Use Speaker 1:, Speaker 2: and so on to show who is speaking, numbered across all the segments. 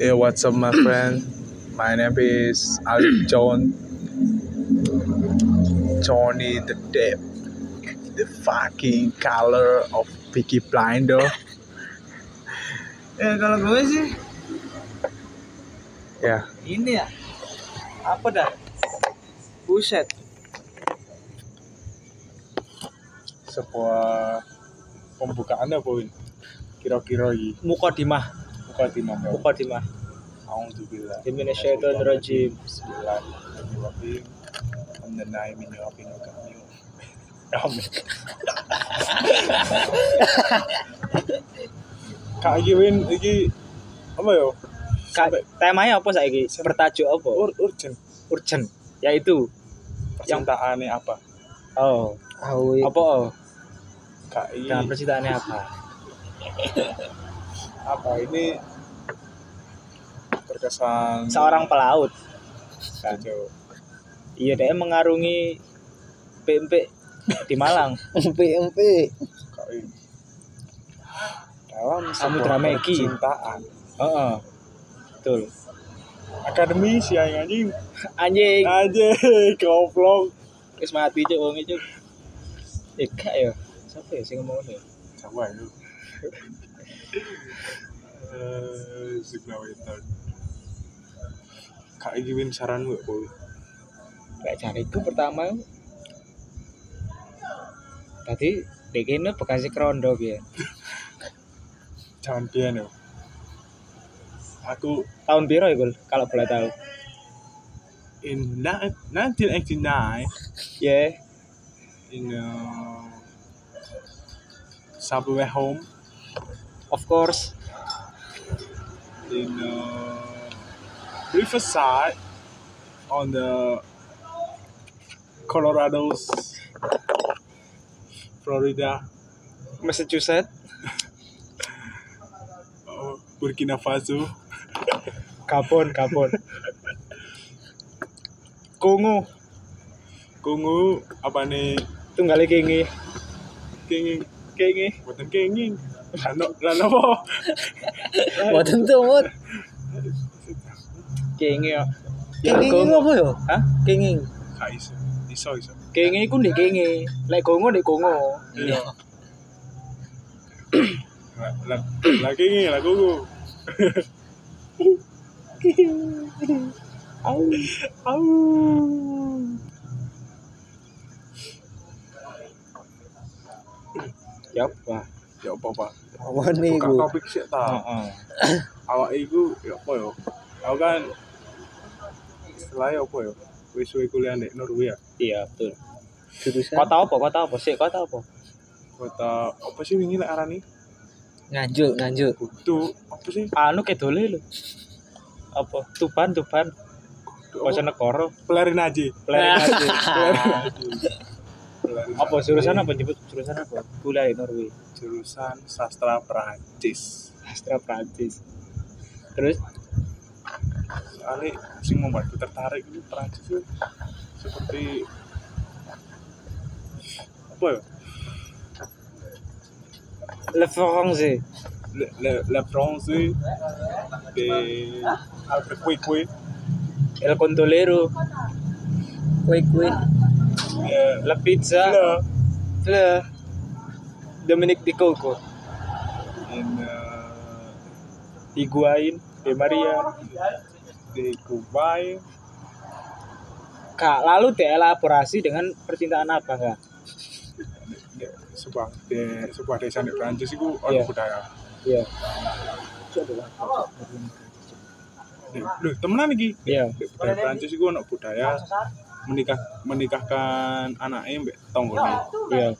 Speaker 1: Hey, what's up, my friend? My name is Alip John. Johnny the Depp, the fucking color of Peaky Blinder.
Speaker 2: Ya kalau gue sih
Speaker 1: Ya,
Speaker 2: ini ya apa dah? Buset.
Speaker 1: sebuah pembukaan apa Win? Kira-kira ini
Speaker 2: Mukodimah,
Speaker 1: buka di mana?
Speaker 2: mukodimah.
Speaker 1: Alhamdulillah.
Speaker 2: Bismillahirrahmanirrahim.
Speaker 1: Bismillahirrahmanirrahim. Mengenai menyuapin kami. Amin. Kak iki Win, iki apa ya?
Speaker 2: Ka, temanya apa saiki? Bertajuk apa?
Speaker 1: Ur urgent
Speaker 2: Urgent, yaitu
Speaker 1: percintaannya apa?
Speaker 2: oh, apa oh?
Speaker 1: Kak iki
Speaker 2: Nah, percintaannya apa?
Speaker 1: apa ini terkesan
Speaker 2: Seorang pelaut. kan.
Speaker 1: kacau.
Speaker 2: Iya, dia mengarungi PMP di Malang.
Speaker 3: MP
Speaker 1: Kak Win. Dalam
Speaker 2: Samudra
Speaker 1: sebuah
Speaker 2: Megi.
Speaker 1: percintaan
Speaker 2: Heeh. Betul.
Speaker 1: Akademi sih anjing
Speaker 2: Anjing,
Speaker 1: aja goblok
Speaker 2: wis mati cuk wong iki, cuk. Eh, gak ya. Siapa ya sing ngomong ngono? ya?
Speaker 1: Coba lu. Eh, Sigma Winter. Kak iki win saran gue, Boy.
Speaker 2: Lek jariku pertama tadi dekene bekasi krondo biyen.
Speaker 1: Jangan pian yo. ya. Aku
Speaker 2: Tahun piro iku kalau boleh tahu?
Speaker 1: in na- 1989
Speaker 2: Ya,
Speaker 1: in uh, subway home
Speaker 2: of course.
Speaker 1: in uh, Riverside on the Colorado's Florida
Speaker 2: Massachusetts,
Speaker 1: Oh, Burkina Faso,
Speaker 2: Gabon, Gabon. Kongo,
Speaker 1: Kongo, apa nih?
Speaker 2: tunggale kenge,
Speaker 1: Kenging,
Speaker 2: kenge.
Speaker 1: buatan kenging. Lano, lano apa?
Speaker 3: Mboten to, Mut.
Speaker 2: Kenge ya.
Speaker 3: Kenging
Speaker 2: Kongo.
Speaker 3: apa yo?
Speaker 2: Hah?
Speaker 3: Kenging.
Speaker 1: Gak iso, iso iso.
Speaker 2: Kenge iku ndek kenge. Lek Kongo ndek Kongo.
Speaker 1: Iya. La- la- La kenging, la Kongo. Au, au.
Speaker 2: Ya apa?
Speaker 1: Ya apa pak?
Speaker 3: Apa nih
Speaker 1: Buka
Speaker 3: iku?
Speaker 1: topik sih ta.
Speaker 2: Heeh.
Speaker 1: Awak iku ya apa yo? Aku kan istilahnya apa yo? Wis suwe kuliah ya. di Norwegia.
Speaker 2: Iya, betul.
Speaker 3: Jurusan
Speaker 2: Kota apa? Kota apa? Sik, kota apa?
Speaker 1: Kota apa sih wingi lek arani?
Speaker 3: nganjuk, nganjuk.
Speaker 1: Kudu apa sih?
Speaker 2: Anu kedole lho. Apa? Tuban, Tuban. Oh. Bojonegoro.
Speaker 1: pelarin aja
Speaker 2: Pelayan aja.
Speaker 1: Pelarin
Speaker 2: Nah. apa jurusan apa nyebut jurusan apa kuliah di Norway
Speaker 1: jurusan sastra Perancis
Speaker 2: sastra Prancis terus
Speaker 1: soalnya sing membuatku tertarik itu Perancis itu seperti apa ya
Speaker 2: Le Francais
Speaker 1: le, le, le France de Albert kue kue
Speaker 2: El Condolero
Speaker 3: Kue kue.
Speaker 1: ya,
Speaker 2: La Pizza
Speaker 1: le
Speaker 2: Le Dominic Di Coco
Speaker 1: in uh,
Speaker 2: Higuain De Maria
Speaker 1: de Dubai
Speaker 2: Kak, lalu dielaborasi dengan percintaan apa kak?
Speaker 1: de, sebuah de, sebuah desa di Perancis itu
Speaker 2: Iya.
Speaker 1: orang budaya
Speaker 2: Iya.
Speaker 1: Di- Loh, temenan lagi
Speaker 2: Iya.
Speaker 1: Di budaya Perancis itu anak budaya menikah menikahkan anaknya mbak tonggone
Speaker 2: Iya.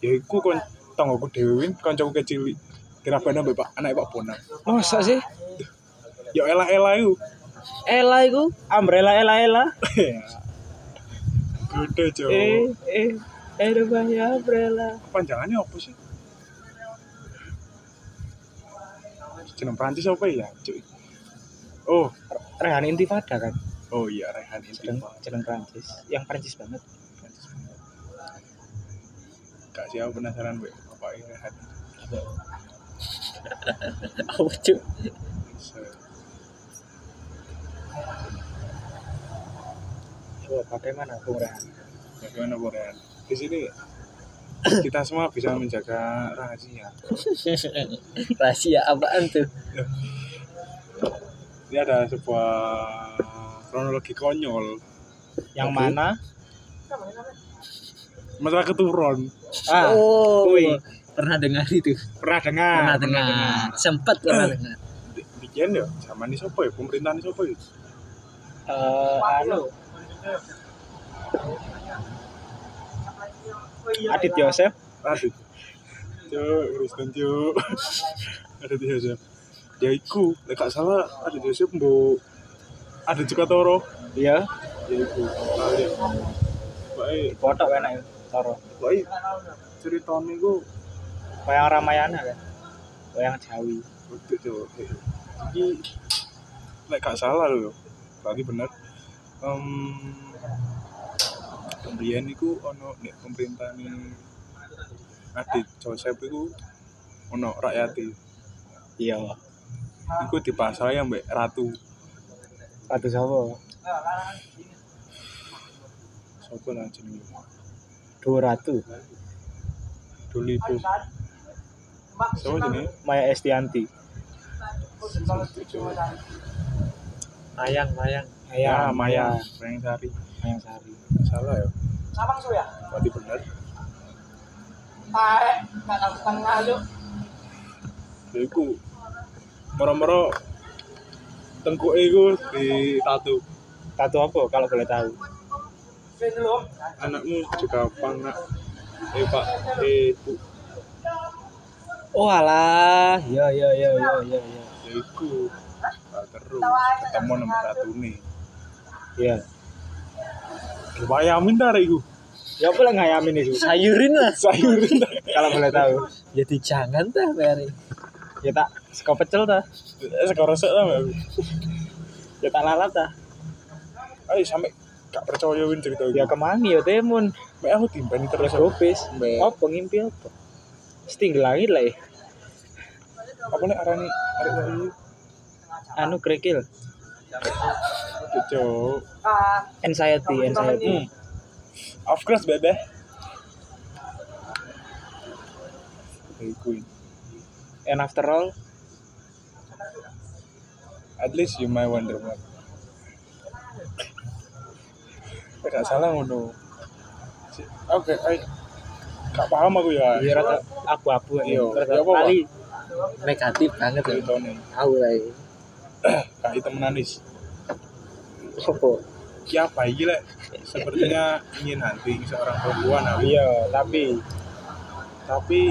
Speaker 1: ya iku kon tonggoku dhewe win kancaku kecil dirabana mbak pak anak pak bonang
Speaker 2: Masa sih?
Speaker 1: ya elah elah iku
Speaker 2: Ela itu, umbrella Ela Ela.
Speaker 1: gede jo
Speaker 2: Eh, eh, eh, rumahnya umbrella.
Speaker 1: panjangannya apa sih jeneng Prancis apa ya cuy oh
Speaker 2: Rehan Intifada kan?
Speaker 1: oh iya Rehan
Speaker 2: jeneng
Speaker 1: Intifa
Speaker 2: jeneng Prancis yang Prancis banget
Speaker 1: gak sih aku penasaran mbak apa ini Rehan
Speaker 3: Apa cuk?
Speaker 2: Coba bagaimana kurang?
Speaker 1: Bagaimana Bu Ren? Di sini kita semua bisa menjaga rahasia.
Speaker 3: Rahasia apaan tuh?
Speaker 1: Ini ada sebuah kronologi konyol
Speaker 2: Yang
Speaker 3: Oke.
Speaker 2: mana?
Speaker 1: masalah keturun.
Speaker 2: Ah,
Speaker 3: oh,
Speaker 2: kui. Ah, Nah,
Speaker 3: pernah dengar itu?
Speaker 2: pernah dengar.
Speaker 3: pernah dengar. Sempat pernah dengar.
Speaker 1: Di- Bikin ya, zaman ini sopo ya, pemerintahan ini sopo ya.
Speaker 2: Eh, anu. Adit Yosef.
Speaker 1: Aduh. Cuk, urusan cuk. ada di Yosef. Ya iku, nek gak salah ada di Yosef mbok ada juga Toro.
Speaker 2: Iya,
Speaker 1: Ya iku. Baik,
Speaker 2: foto enak itu. Toro.
Speaker 1: baik. Ceritanya gue
Speaker 2: Wayang Ramayana kan. Wayang Jawi.
Speaker 1: Betul tuh. Jadi, lek eh, gak salah loh, berarti bener. Um, pembelian itu ono nek pemerintahan Adit Joseph itu ono rakyati.
Speaker 2: Iya.
Speaker 1: Iku dipasrai ambek ratu.
Speaker 2: Ratu sapa?
Speaker 1: Sopo lah jenenge?
Speaker 2: Dua ratu.
Speaker 1: Dolipo. Sopo jenenge?
Speaker 2: Maya Estianti.
Speaker 3: Mayang, mayang.
Speaker 1: Ya,
Speaker 2: Ayang
Speaker 1: Maya Mayangsari.
Speaker 2: Mayang Ah, Sari.
Speaker 1: Gak salah ya. Berarti bener. Ya iku moro-moro tengkuke iku ditato.
Speaker 2: Tato apa kalau boleh tahu?
Speaker 1: anakmu juga pangnak eh pak eh bu
Speaker 2: Oh alah, ya ya ya ya ya ya.
Speaker 1: ya iku Nah, terus ketemu nomor satu nih
Speaker 2: Iya.
Speaker 1: lumayan minta iku
Speaker 2: Ya apa lah ngayamin itu?
Speaker 3: Sayurin Ya, lah.
Speaker 1: sayurin
Speaker 2: kalau boleh tahu.
Speaker 3: Jadi jangan tah, Mary.
Speaker 2: Ya tak sego pecel ta.
Speaker 1: sekarang saya lah aku
Speaker 2: Ya tak lalat ta.
Speaker 1: ayo sampe gak percaya win cerita
Speaker 2: Ya
Speaker 1: iku
Speaker 2: kemangi ya temun.
Speaker 1: Mek aku timbani terus
Speaker 2: Terus gopis.
Speaker 1: Mbak.
Speaker 2: Apa ngimpi Oh, apa? Sting langit lah ya.
Speaker 1: apa nih arani arek lagi
Speaker 2: Anu kerikil.
Speaker 1: kecok
Speaker 2: Anxiety, anxiety.
Speaker 1: hmm. of course bebe Ya iku
Speaker 2: And after all,
Speaker 1: at least you might wonder what Eh, gak salah ngono Si- oke ay gak paham aku ya
Speaker 2: ya rata abu-abu ya.
Speaker 1: Iya.
Speaker 2: Rata
Speaker 1: Ya apa, Pak?
Speaker 2: lali.
Speaker 3: Negatif banget ya.
Speaker 1: ceritanya
Speaker 3: Tahu lah. ini.
Speaker 1: kak itu menangis
Speaker 3: Apa?
Speaker 1: siapa ini lek sepertinya ingin hunting seorang perempuan aku
Speaker 2: Iya, tapi
Speaker 1: tapi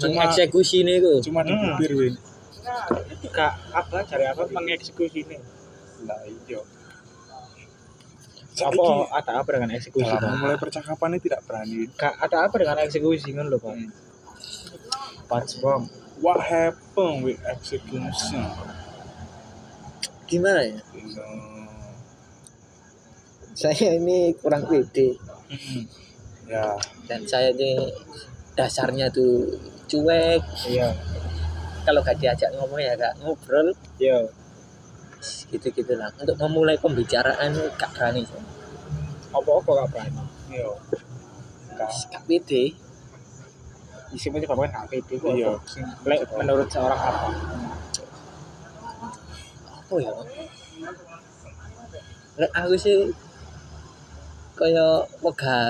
Speaker 1: Cuma-
Speaker 3: Mengeksekusi nih kok.
Speaker 1: cuma
Speaker 2: Hmm.
Speaker 1: dikubir win
Speaker 2: kak apa cari apa mengeksekusi ini?
Speaker 1: lah iya Saiki, Iya.
Speaker 2: Apa ada apa dengan eksekusi?
Speaker 1: dalam
Speaker 2: Pak?
Speaker 1: memulai percakapannya tidak berani
Speaker 2: Kak ada apa dengan eksekusi kan lho, Pak?
Speaker 1: Hmm.
Speaker 2: What's wrong?
Speaker 1: what happened with execution
Speaker 3: Gimana ya?
Speaker 1: you
Speaker 2: Hmm.
Speaker 1: know
Speaker 3: Saya ini kurang pede
Speaker 1: ya
Speaker 3: dan saya ini dasarnya tuh cuek.
Speaker 2: Iya.
Speaker 3: Kalau gak diajak ngomong ya gak ngobrol
Speaker 2: Iya.
Speaker 3: gitu gitulah untuk memulai pembicaraan kak berani
Speaker 2: Apa-apa gak berani.
Speaker 1: iya
Speaker 3: kak pede
Speaker 2: Isi mesti bapak kan gak pede kok.
Speaker 1: iya
Speaker 2: Apa? Lek menurut seorang apa?
Speaker 3: apa ya Lek aku sih kaya wega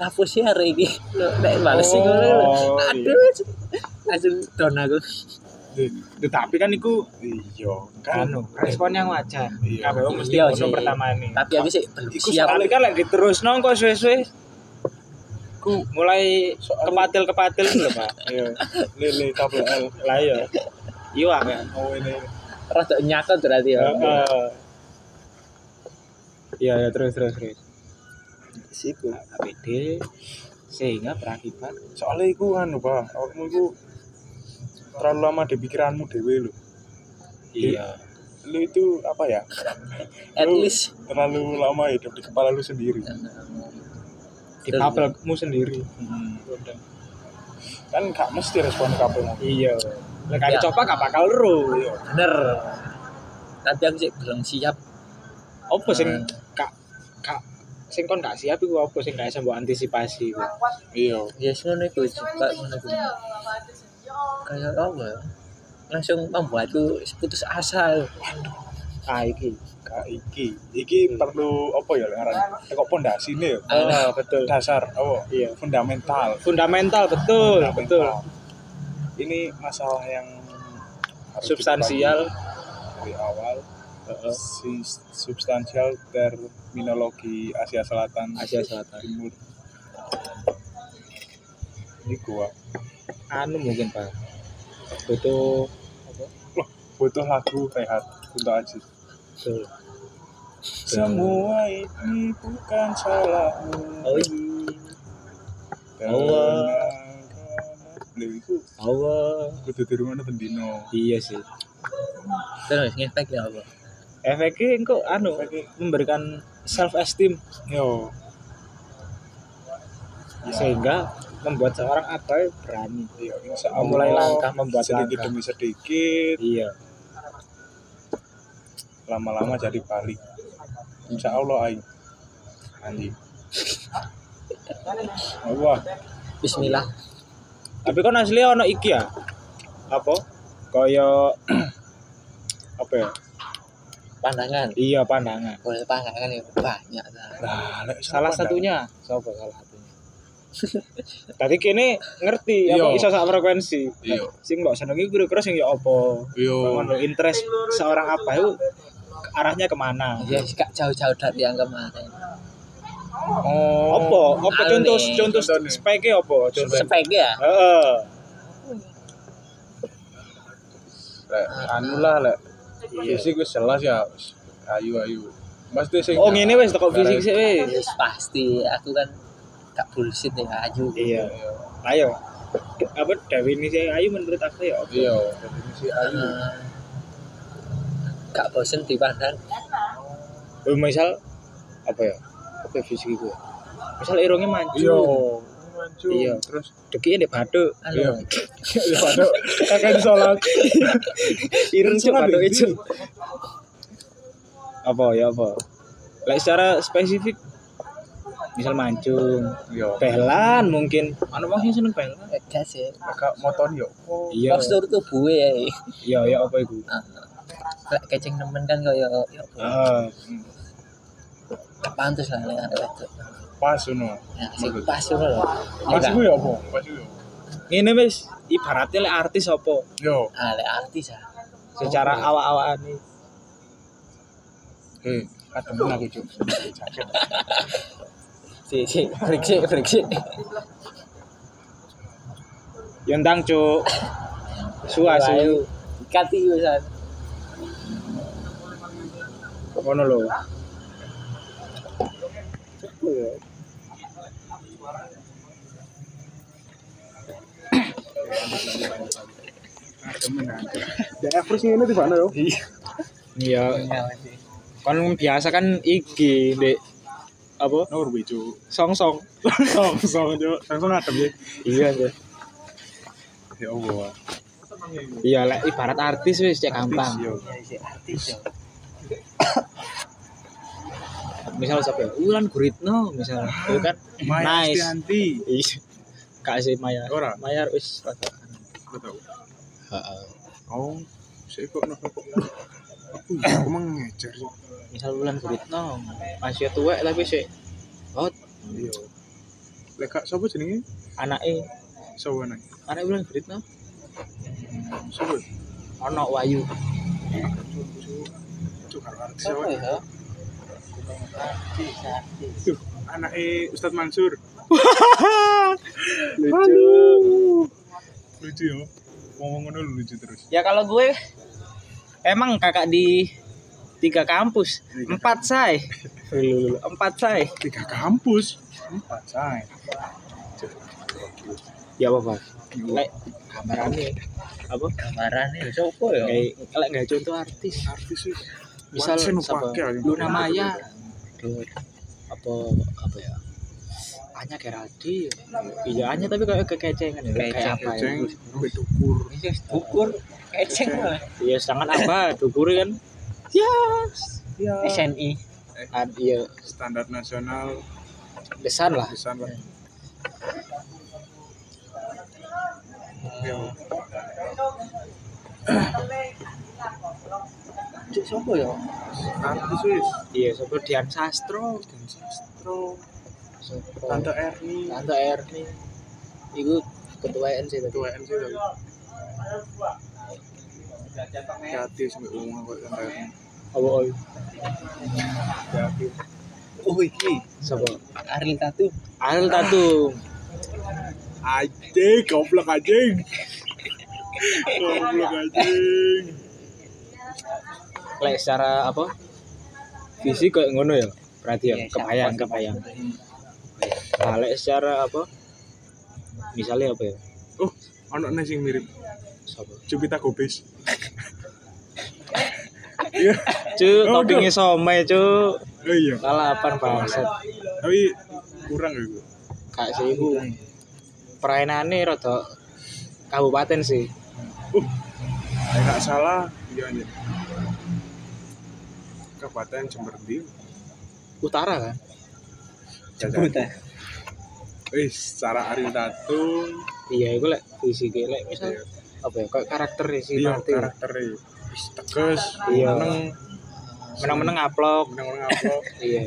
Speaker 3: apa sih hari ini nek bales sih
Speaker 2: Oh,
Speaker 3: ngono.
Speaker 1: iya.
Speaker 3: aduh langsung down aku
Speaker 2: Tetapi kan itu
Speaker 1: iya kan
Speaker 2: anu, respon yang wajar.
Speaker 1: Iya.
Speaker 2: Kabeh wong mesti
Speaker 3: Iya,
Speaker 2: ngono
Speaker 3: sih.
Speaker 2: pertama ini.
Speaker 3: tapi aku sih belum
Speaker 1: Iku
Speaker 3: siap
Speaker 2: Tapi kan lagi terus nong kok suwe-suwe
Speaker 1: ku
Speaker 2: mulai
Speaker 1: Soalnya-
Speaker 2: kepatil-kepatil lho, Pak.
Speaker 1: iya lele kabel L
Speaker 2: Lah iya. Iya kan.
Speaker 1: oh ini
Speaker 3: rada nyakot berarti ya
Speaker 2: Heeh. Iya, ya terus terus terus.
Speaker 3: siku
Speaker 2: APD sehingga berakibat
Speaker 1: soalnya iku anu pak awakmu iku terlalu lama di pikiranmu dewe lo
Speaker 2: iya
Speaker 1: lu itu apa ya
Speaker 3: at
Speaker 1: Lu
Speaker 3: least Ya.
Speaker 1: terlalu lama hidup di kepala lu sendiri
Speaker 2: di bubble-mu sendiri.
Speaker 1: Hmm. Iya. kan gak mesti respon kabeh mau
Speaker 2: iya lek gak
Speaker 3: Ya.
Speaker 2: dicoba gak bakal ero iya.
Speaker 3: bener tapi aku sih belum siap
Speaker 2: opo sing
Speaker 3: Hmm.
Speaker 2: gak gak sing kon gak siap iku opo sing gak iso mbok antisipasi iku
Speaker 1: iya
Speaker 3: ya yes, ngono iku juga ngono iku kayak apa ya langsung membuatku putus asa
Speaker 2: ah iki
Speaker 1: Nah, iki iki perlu apa ya ngaran tekok pondasi nih ya.
Speaker 2: ah betul
Speaker 1: dasar oh
Speaker 2: Iya.
Speaker 1: fundamental
Speaker 2: fundamental betul betul
Speaker 1: Fundamental. ini masalah yang harus
Speaker 2: substansial
Speaker 1: dipahami dari awal si substansial terminologi Asia Selatan
Speaker 2: Asia Selatan.
Speaker 1: Timur ini gua
Speaker 2: anu mungkin pak butuh
Speaker 1: butuh lagu rehat untuk Aziz
Speaker 2: betul
Speaker 1: semua ini bukan salahmu
Speaker 3: Oh,
Speaker 2: iya.
Speaker 3: Allah.
Speaker 1: Lha iku
Speaker 2: Allah
Speaker 1: kudu di rumah bendino.
Speaker 2: iya sih
Speaker 3: terus ngefek ya apa
Speaker 2: efeknya engko anu
Speaker 1: Efeknya.
Speaker 2: memberikan self esteem
Speaker 1: Yo, Iya.
Speaker 2: sehingga membuat seorang abai berani
Speaker 1: yo insya Allah
Speaker 2: Memulai langkah membuat
Speaker 1: sedikit
Speaker 2: langkah.
Speaker 1: demi sedikit
Speaker 2: iya
Speaker 1: lama-lama jadi balik insya Allah aing nanti wah
Speaker 3: Bismillah
Speaker 2: tapi kan asli ono iki ya apa kaya apa ya
Speaker 3: pandangan
Speaker 2: iya pandangan
Speaker 3: boleh pandangan ya banyak lah
Speaker 1: nah, lek sopan
Speaker 2: salah
Speaker 1: dah.
Speaker 2: satunya siapa salah satunya tadi kini ngerti
Speaker 1: Iya.
Speaker 2: apa iso sak frekuensi
Speaker 1: Iya.
Speaker 2: sing mbok senengi kira-kira sing ya apa
Speaker 1: yo
Speaker 2: ngono interest seorang apa itu arahnya kemana
Speaker 3: ya gak jauh-jauh dari yang kemarin
Speaker 1: oh
Speaker 2: apa apa
Speaker 3: Anu
Speaker 2: contoh
Speaker 3: nih.
Speaker 2: contoh
Speaker 1: Contoh nih.
Speaker 2: speknya apa contoh
Speaker 3: spek ya
Speaker 2: heeh
Speaker 1: lek anu lah lek fisik wis jelas ya wis. ayu ayu mas tuh sing
Speaker 2: oh ngene wis teko fisik sih wis
Speaker 3: Yes, pasti aku kan gak bullshit ya ayu
Speaker 2: iya ayo apa definisi ayu menurut aku ya apa?
Speaker 1: iya definisi ayu
Speaker 3: Eh, gak bosen dipandang
Speaker 2: Eh, misal apa ya apa fisik itu misal irungnya mancung
Speaker 1: iya maju
Speaker 2: Iya.
Speaker 1: terus
Speaker 2: dekinya di batuk
Speaker 1: iya
Speaker 3: anu
Speaker 1: iya padahal kakek di sholat
Speaker 2: irung sih
Speaker 1: Sholat
Speaker 2: batuk
Speaker 1: di-
Speaker 2: itu apa ya apa lah secara spesifik misal mancung
Speaker 1: iya
Speaker 2: pelan mungkin anu wong sing seneng pelan
Speaker 3: gas ya
Speaker 1: kakak motor yo
Speaker 2: iya
Speaker 3: postur tubuh ya
Speaker 2: iya iya apa iku
Speaker 3: Ah, lek kecing nemen kan kaya ya apa,
Speaker 2: ah
Speaker 3: gak pantas lah lek arek wedok
Speaker 1: pas no
Speaker 3: ya sing pas ngono lho Ya,
Speaker 1: pas
Speaker 3: gak-
Speaker 1: gue ya apa pas gue ya apa?
Speaker 2: ngene wis ibaratnya lek artis apa
Speaker 1: yo
Speaker 3: ah lek artis ah
Speaker 2: secara awak-awakan iki.
Speaker 1: Hei, ademen aku cuk. Jaket.
Speaker 3: si si friksi friksi
Speaker 2: yo Ya, ndang cuk suwa suwi
Speaker 3: ikat iki wis ah.
Speaker 2: Ya, ngono lho
Speaker 1: Ademen aku. Dan Everest ini di mana yo?
Speaker 2: iya kan biasa kan iki dek apa
Speaker 1: Norway cuk.
Speaker 2: song-song
Speaker 1: Song song cuk. Song song adem ya.
Speaker 2: iya sih
Speaker 1: Ya Allah.
Speaker 2: iya lek ibarat artis iya. wis cek gampang
Speaker 1: Yo.
Speaker 2: misal sapa ya, Ulan Guritno misal itu kan
Speaker 1: Maya
Speaker 2: nice
Speaker 1: Estianti.
Speaker 2: iya kak sih Maya
Speaker 1: Ora.
Speaker 2: Maya wis rada
Speaker 1: Nggak tahu.
Speaker 2: Heeh.
Speaker 1: Oh, saya kok nopo kok. Aku ya, aku emang ngejar Cuk.
Speaker 2: misal bulan Guritno masih tuwek tapi sih oh
Speaker 1: Iya. Lek kak sapa jenenge?
Speaker 2: anaknya
Speaker 1: Sapa nang?
Speaker 2: anaknya bulan Guritno
Speaker 1: Sapa?
Speaker 2: ono Wayu
Speaker 1: Cuk, cuk. Cuk, gak ngerti
Speaker 3: Apa
Speaker 1: sapa.
Speaker 3: ya?
Speaker 1: Tuh, anaknya Ustadz Mansur.
Speaker 2: lucu
Speaker 1: Lucu ya. Ngomong ngono lucu terus.
Speaker 2: ya kalau gue emang kakak di tiga kampus empat say empat say
Speaker 1: tiga kampus empat say
Speaker 2: ya apa pak lek gambarannya apa
Speaker 3: gambaran iki sopo ya
Speaker 2: kayak lek nggak contoh artis
Speaker 1: artis sih
Speaker 2: misal
Speaker 1: Wajib
Speaker 2: siapa
Speaker 1: pakai.
Speaker 2: Luna Maya apa apa ya Anya Geraldi iya Anya tapi kayak kekecengan ya kayak
Speaker 3: Keceng,
Speaker 2: apa ya
Speaker 1: Ceng, gue dukur.
Speaker 3: Iya, ukur keceng lah.
Speaker 2: iya sangat apa dukuri kan yes ya
Speaker 3: SNI.
Speaker 2: Ad- iya
Speaker 1: Standar Iya, nasional
Speaker 2: desan lah
Speaker 1: pesan lah. Yo,
Speaker 3: Cuk sopo ya?
Speaker 1: artis wis.
Speaker 2: iya sebelum Dian Sastro
Speaker 1: Dan Sastro,
Speaker 2: Oh. Sopo?
Speaker 1: Tante Erni,
Speaker 2: Tante Erni itu ketua NC tadi
Speaker 1: ketua MC tadi. Kreatif sampai umum kok Tante Erni.
Speaker 2: apa oi
Speaker 1: Kreatif.
Speaker 3: Oh iki
Speaker 2: Sopo?
Speaker 3: Ariel Tatum.
Speaker 2: Ariel Tatum
Speaker 1: Anjing, goblok anjing. Goblok anjing.
Speaker 2: lek secara apa fisik kayak ngono ya berarti ya
Speaker 3: Iya,
Speaker 2: kebayang
Speaker 3: siapa-
Speaker 2: kebayang nah lek secara apa misalnya apa ya
Speaker 1: Oh, anak nasi yang mirip
Speaker 2: Sopo?
Speaker 1: Jupita Gobes. Iya,
Speaker 2: Cuk,
Speaker 1: Oh,
Speaker 2: toppingnya somai,
Speaker 1: oh
Speaker 2: cuk.
Speaker 1: iya.
Speaker 2: Lalapan bangsat.
Speaker 1: Tapi kurang ya gue.
Speaker 2: Kak sih iku perainane rada kabupaten sih.
Speaker 1: Nek gak salah, iya anjing. Kabupaten Jember Ndi.
Speaker 2: Utara kan?
Speaker 3: Buta.
Speaker 1: Wis, secara Ariel Tatum,
Speaker 2: Iya, iku lek fisik lek misal
Speaker 1: Iya.
Speaker 2: apa ya? Kayak karakter si
Speaker 1: iya
Speaker 2: Martin.
Speaker 1: karakternya wis tegas,
Speaker 2: Iya.
Speaker 1: meneng,
Speaker 2: Menang-menang ngaplok.
Speaker 1: meneng-meneng apa.
Speaker 2: Iya.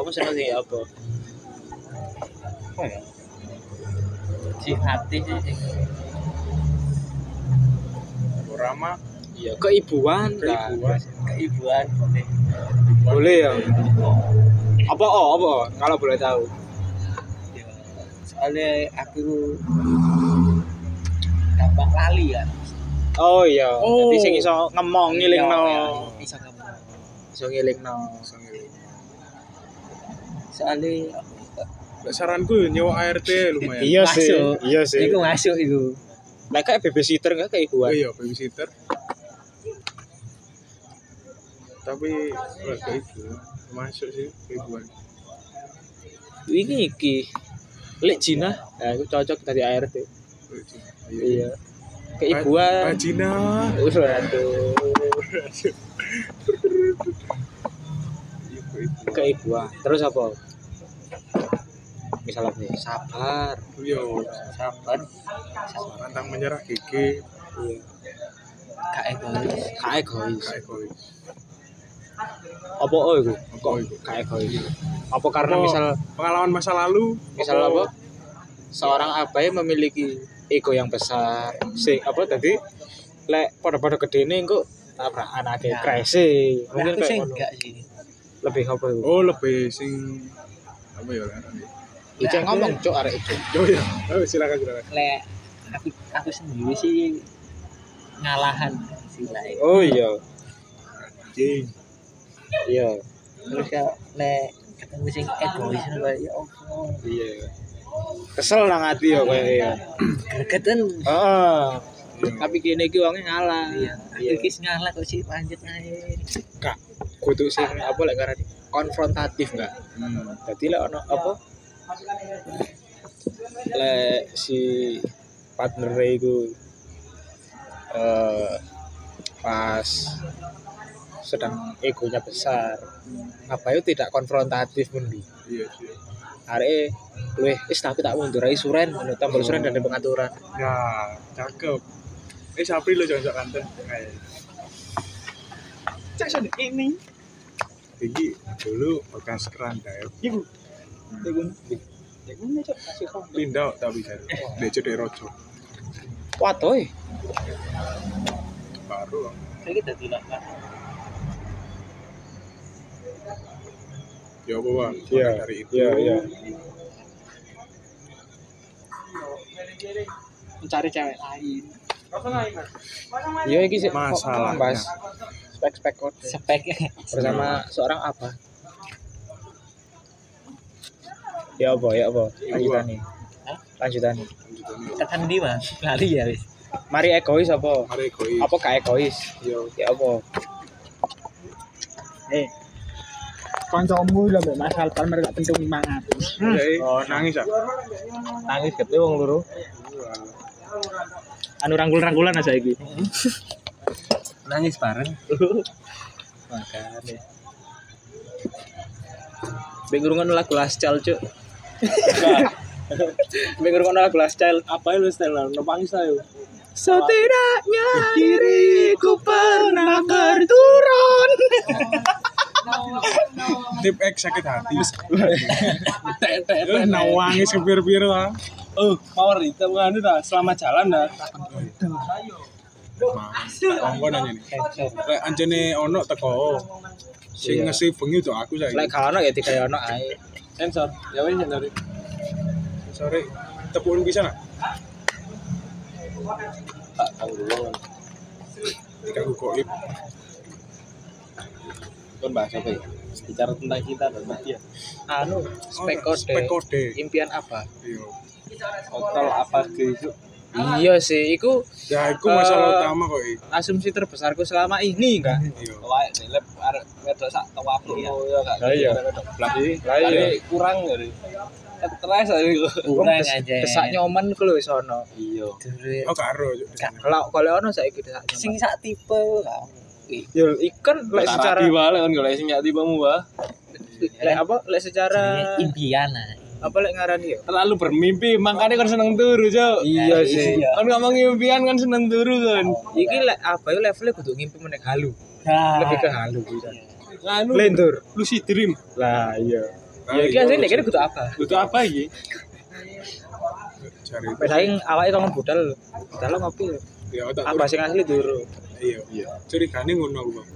Speaker 2: Aku seneng sih apa?
Speaker 3: Oh ya. Si hati sih.
Speaker 1: Rama,
Speaker 2: Iya, keibuan. kan?
Speaker 1: keibuan.
Speaker 3: Keibuan boleh. Iya.
Speaker 2: Boleh ya. Apa oh, apa oh? kalau boleh tahu.
Speaker 3: Ya. Soalnya aku gampang lali ya.
Speaker 2: Oh iya,
Speaker 1: Oh.
Speaker 2: jadi sing iso ngemong ngilingno.
Speaker 3: Ya, ya, Bisa ngomong.
Speaker 2: Iso ngilingno.
Speaker 3: Soalnya
Speaker 2: eh,
Speaker 1: Lah saranku nyewa ART lumayan.
Speaker 2: Iya sih,
Speaker 3: Masuk.
Speaker 2: iya sih.
Speaker 3: Iku masuk iku.
Speaker 2: Lah kayak babysitter enggak kayak
Speaker 1: Oh
Speaker 2: ibuan.
Speaker 1: iya, babysitter. Tapi lah kayak itu masuk sih keibuan.
Speaker 2: ini iki lek Cina nah itu cocok dari ART iya keibuan
Speaker 1: Bajina.
Speaker 2: Wis ora tuh.
Speaker 1: Iya, keibuan.
Speaker 2: keibuan terus apa misalnya nih sabar
Speaker 1: Iya, sabar. Pantang menyerah gigi,
Speaker 2: iya.
Speaker 3: Kak egois.
Speaker 2: gak egois
Speaker 1: gak egois.
Speaker 2: apa oh itu
Speaker 1: Apa itu?
Speaker 2: gak egois apa karena
Speaker 1: Apa-
Speaker 2: misal
Speaker 1: Pengalaman masa lalu,
Speaker 2: misal apa seorang abai memiliki ego yang besar sing apa tadi lek pada-pada gede ini kok tabrakan akeh
Speaker 3: Nah.
Speaker 2: kresi
Speaker 3: Mungkin
Speaker 2: mungkin
Speaker 3: aku sih
Speaker 2: kayak ngono.
Speaker 3: enggak sih.
Speaker 2: lebih apa itu
Speaker 1: Oh, lebih sing apa ya? laran ya?
Speaker 2: Ijek
Speaker 3: Nah,
Speaker 2: ngomong cok arek itu.
Speaker 1: Oh iya, oh, silakan silakan.
Speaker 3: Lek aku aku sendiri sih ngalahan sih lek.
Speaker 2: Oh iya,
Speaker 1: Anjing.
Speaker 2: iya,
Speaker 3: Terus ya lek ketemu sing egois ngono kayak ya Allah.
Speaker 2: iya. Kesel nang ati ya kayak iya.
Speaker 3: Gregeten.
Speaker 2: Heeh.
Speaker 1: Iya.
Speaker 2: Tapi kene iki wonge ngalah.
Speaker 3: Iya.
Speaker 2: Iya.
Speaker 3: Iki sing ngalah kok sih lanjut ae.
Speaker 2: Kak, kudu sing apa lek ngarani konfrontatif enggak?
Speaker 1: Hmm.
Speaker 2: Dadi lek
Speaker 3: Ya.
Speaker 2: ono apa? Lek si partner e iku eh pas sedang egonya besar. Ngapayo tidak konfrontatif mendi.
Speaker 1: Iya sih.
Speaker 2: arek luwih wis tapi tak mundur ae suren ngono tambal suren dan ada pengaturan
Speaker 1: Nah, cakep. Eh, Sapri lo jangan sok kanten. Kayak
Speaker 3: Cek sing ini.
Speaker 1: Iki dulu bekas keranda.
Speaker 2: ibu tegun tegun aja kasih kau
Speaker 1: Linda tapi jadi.
Speaker 2: Eh.
Speaker 1: Dia jadi rojo.
Speaker 2: watoy
Speaker 1: Baru.
Speaker 3: Saiki dadi lek
Speaker 1: Ya apa bang?
Speaker 2: Iya,
Speaker 1: Dari itu.
Speaker 2: iya, iya.
Speaker 3: mencari cewek lain.
Speaker 2: yo iki sih
Speaker 1: Masalahnya.
Speaker 2: bahas spek spek kode
Speaker 3: Speknya
Speaker 2: bersama seorang apa ya apa ya apa lanjutan nih
Speaker 3: Hah?
Speaker 2: lanjutan nih
Speaker 1: Lanjutannya.
Speaker 3: tekan di Mas. Lali ya wis.
Speaker 2: mari egois apa Ya
Speaker 1: Mari koi.
Speaker 4: Ya.
Speaker 2: apa gak egois
Speaker 1: Iya.
Speaker 2: ya apa eh
Speaker 4: kancamu lho mbak Mas Alpan mereka pentung 500.
Speaker 2: Iya,
Speaker 1: Oh, nangis ya.
Speaker 4: Nangis gede wong loro. Anu rangkul-rangkulan aja iki.
Speaker 3: nangis bareng
Speaker 4: Makane.
Speaker 3: Mbak ngurungan lagu last child cuk Mbak ngurungan lagu last child
Speaker 4: Apa lu Stella? Nopangis ayo.
Speaker 3: Setidaknya diriku pernah berturun
Speaker 1: Tip X sakit hati.
Speaker 4: Eh,
Speaker 1: Nangis kepir-pir lah.
Speaker 4: Oh, power itu bukan itu dah. Selamat jalan dah.
Speaker 1: Kongkon aja nih. Lek anjene ono teko. Sing
Speaker 3: Iya.
Speaker 1: ngasih bengi tuh aku saiki.
Speaker 3: Lek gak ono ya tiga ono ae
Speaker 4: Sensor. Ya wes sensor.
Speaker 1: Sore tepuk bisa lah.
Speaker 4: Tak tahu dulu.
Speaker 1: Tidak aku goib.
Speaker 4: Kan bahas apa ya? Bicara tentang kita dan dia.
Speaker 3: Anu spek
Speaker 2: iya.
Speaker 1: Oh,
Speaker 3: kode
Speaker 1: Spek kode.
Speaker 3: Impian apa?
Speaker 1: Iya.
Speaker 4: Hotel apa gitu?
Speaker 3: Iya sih, iku
Speaker 1: Ya iku masalah
Speaker 3: Eh,
Speaker 1: utama kok iya. iki.
Speaker 3: asumsi terbesarku selama ini enggak
Speaker 1: Iya.
Speaker 4: Wae lep arek wedok sak tawapu ya.
Speaker 2: Lah iya. Lah iya.
Speaker 4: Lah kurang dari. Stres aja iku.
Speaker 3: Kurang aja. Desak nyoman ku lho iso ono.
Speaker 4: Iya.
Speaker 1: Oh karo. Cuk.
Speaker 3: Kalau kalau ono saiki desak nyoman.
Speaker 4: Sing sak tipe lah.
Speaker 2: Yo ikan lek secara
Speaker 4: Secara di wae kan golek sing nyak tipemu wae.
Speaker 2: lek apa lek secara
Speaker 3: impian
Speaker 2: apa lek ngarani yo.
Speaker 4: Terlalu bermimpi, makanya kan seneng turu, Cuk.
Speaker 2: Iya sih.
Speaker 4: Kan ngomong impian kan seneng turu kan.
Speaker 2: Iki lek apa yo levelnya kudu ngimpi meneh halu. Lebih ke halu bisa.
Speaker 4: Anu
Speaker 2: Lentur.
Speaker 4: lucid dream.
Speaker 2: Lah iya.
Speaker 1: Ah,
Speaker 2: Ya iki
Speaker 1: iya,
Speaker 2: asline
Speaker 1: iya.
Speaker 2: nek kene kudu apa?
Speaker 4: Butuh apa iki?
Speaker 1: Cari.
Speaker 2: Sampai saking awake kok budal. Budal lo ngopi. lho.
Speaker 1: Ya otak.
Speaker 2: Apa sing asli dulu.
Speaker 1: Iya. Iya. Curigane ngono aku. Bang.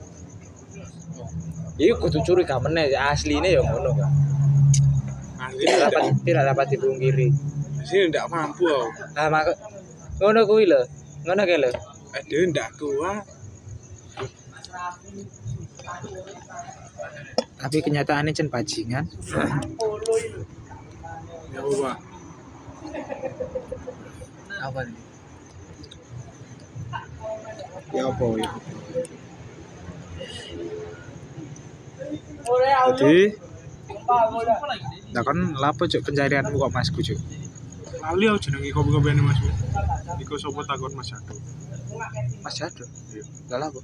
Speaker 2: Iki Ya kudu curiga meneh ya asline yo ngono kan.
Speaker 1: Asli
Speaker 2: Tidak dapat
Speaker 1: tidak-
Speaker 2: tidak dapat dipungkiri.
Speaker 1: asli ndak mampu aku.
Speaker 2: Nah, maka ngono kuwi lho. Ngono kae lho.
Speaker 1: Ada Eh, ndak kuat.
Speaker 2: Tapi kenyataannya cen bajingan.
Speaker 1: Ya apa.
Speaker 3: apa nih?
Speaker 1: Ya apa ya.
Speaker 2: Jadi Nah kan lapo cuk pencarianmu kok Mas Cuk.
Speaker 1: Lali aku jenenge kopi-kopine Mas. Iku sapa takon Mas Jado.
Speaker 2: Mas Jado. Lah lapo?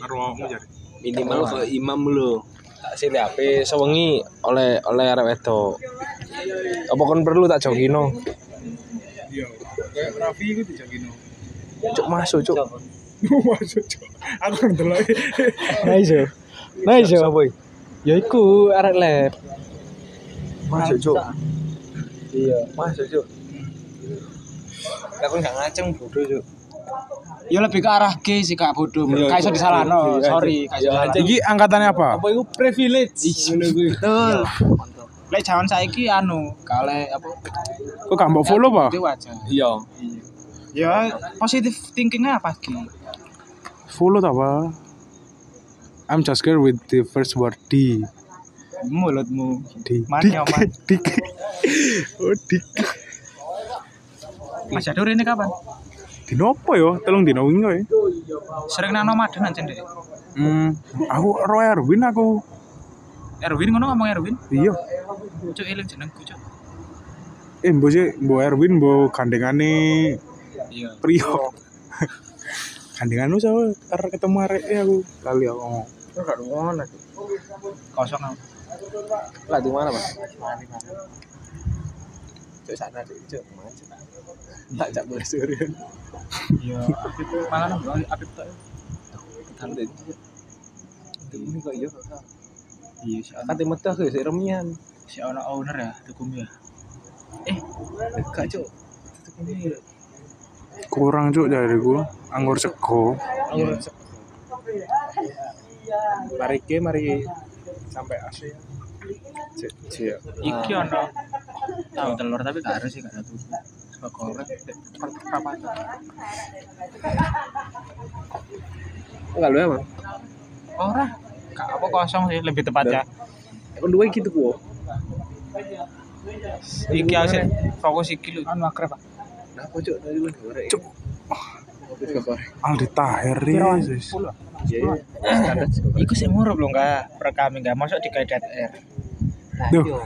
Speaker 1: Karo awakmu jare.
Speaker 4: Minimal kok imam lho. Tak sini HP sewengi oleh oleh arek wedok. Apa kon perlu tak jogino?
Speaker 1: Iya. Kayak Raffi iku dijagino.
Speaker 4: Cuk masuk, Cuk.
Speaker 1: Masuk Cuk. Aku kan ndelok.
Speaker 2: Nah iso. Nah iso boy. Ya iku arek lab.
Speaker 4: Masuk, Cuk.
Speaker 2: Iya, Mas Cuk.
Speaker 4: Lah kon gak ngaceng bodoh, Cuk.
Speaker 2: Ya
Speaker 4: Iya,
Speaker 2: lebih ke arah G sih Kak Bodoh. Gak iso disalahno. Sorry, gak iso disalahno.
Speaker 1: Iki angkatannya apa?
Speaker 4: Apa iku privilege? Ngono kuwi.
Speaker 2: Betul.
Speaker 4: Iya.
Speaker 2: Lek jaman saiki anu, kale apa?
Speaker 1: Kok gak mbok follow apa?
Speaker 2: Itu wajar.
Speaker 4: Iya.
Speaker 2: Ya positif thinkingnya apa Ki?
Speaker 1: Follow tak apa? I'm just scared with the first word D.
Speaker 2: Mulutmu.
Speaker 1: D.
Speaker 2: Man,
Speaker 1: Dik,
Speaker 2: ya, man.
Speaker 1: dik. Oh, dik.
Speaker 2: Mas Jado ini kapan?
Speaker 1: Dino apa ya? Tolong dino wingi kowe.
Speaker 2: Sering nang nomaden ancen Dek.
Speaker 1: Hmm, aku Roy Erwin aku.
Speaker 2: Erwin ngono ngomong Erwin.
Speaker 1: Iya.
Speaker 2: Cuk eling jenengku cuk.
Speaker 1: Eh, mbok sih, mbok Erwin mbok gandengane
Speaker 2: Iya.
Speaker 1: Priyo. Gandengan lu sama karena ketemu arek aku kali aku. ngomong.
Speaker 2: Enggak ngono. Kosong aku.
Speaker 4: Lah di mana, Mas?
Speaker 2: Cuk sana Dek cuk.
Speaker 4: Tak jak boleh surian.
Speaker 2: Iya. Malah nang bawah apik tok.
Speaker 4: Tanding. Ini kok iya kok. Iya, kan tim metu aku sik remian.
Speaker 2: Si ana owner ya tukum ya.
Speaker 4: Gak, Cuk.
Speaker 1: Kurang cuk dari gua. Anggur sego.
Speaker 2: Mari ki mari
Speaker 1: Sampai AC. Cek, cek.
Speaker 2: iki ana tahu telur tapi gak harus sih gak satu. Sebab korek papat.
Speaker 4: Enggak lu emang.
Speaker 2: Ora. Gak apa kosong sih lebih tepat ya.
Speaker 4: Kon duwe gitu ku.
Speaker 2: Iki hasil fokus iki lho. Anu akrab. Nah,
Speaker 4: Kenapa, Cuk? Dari mana goreng?
Speaker 3: Ah.
Speaker 1: Cuk. Aldi Tahir Riz.
Speaker 3: Iya,
Speaker 2: Iku sing ngurup lho enggak rekam enggak masuk di KDR.
Speaker 1: Duh.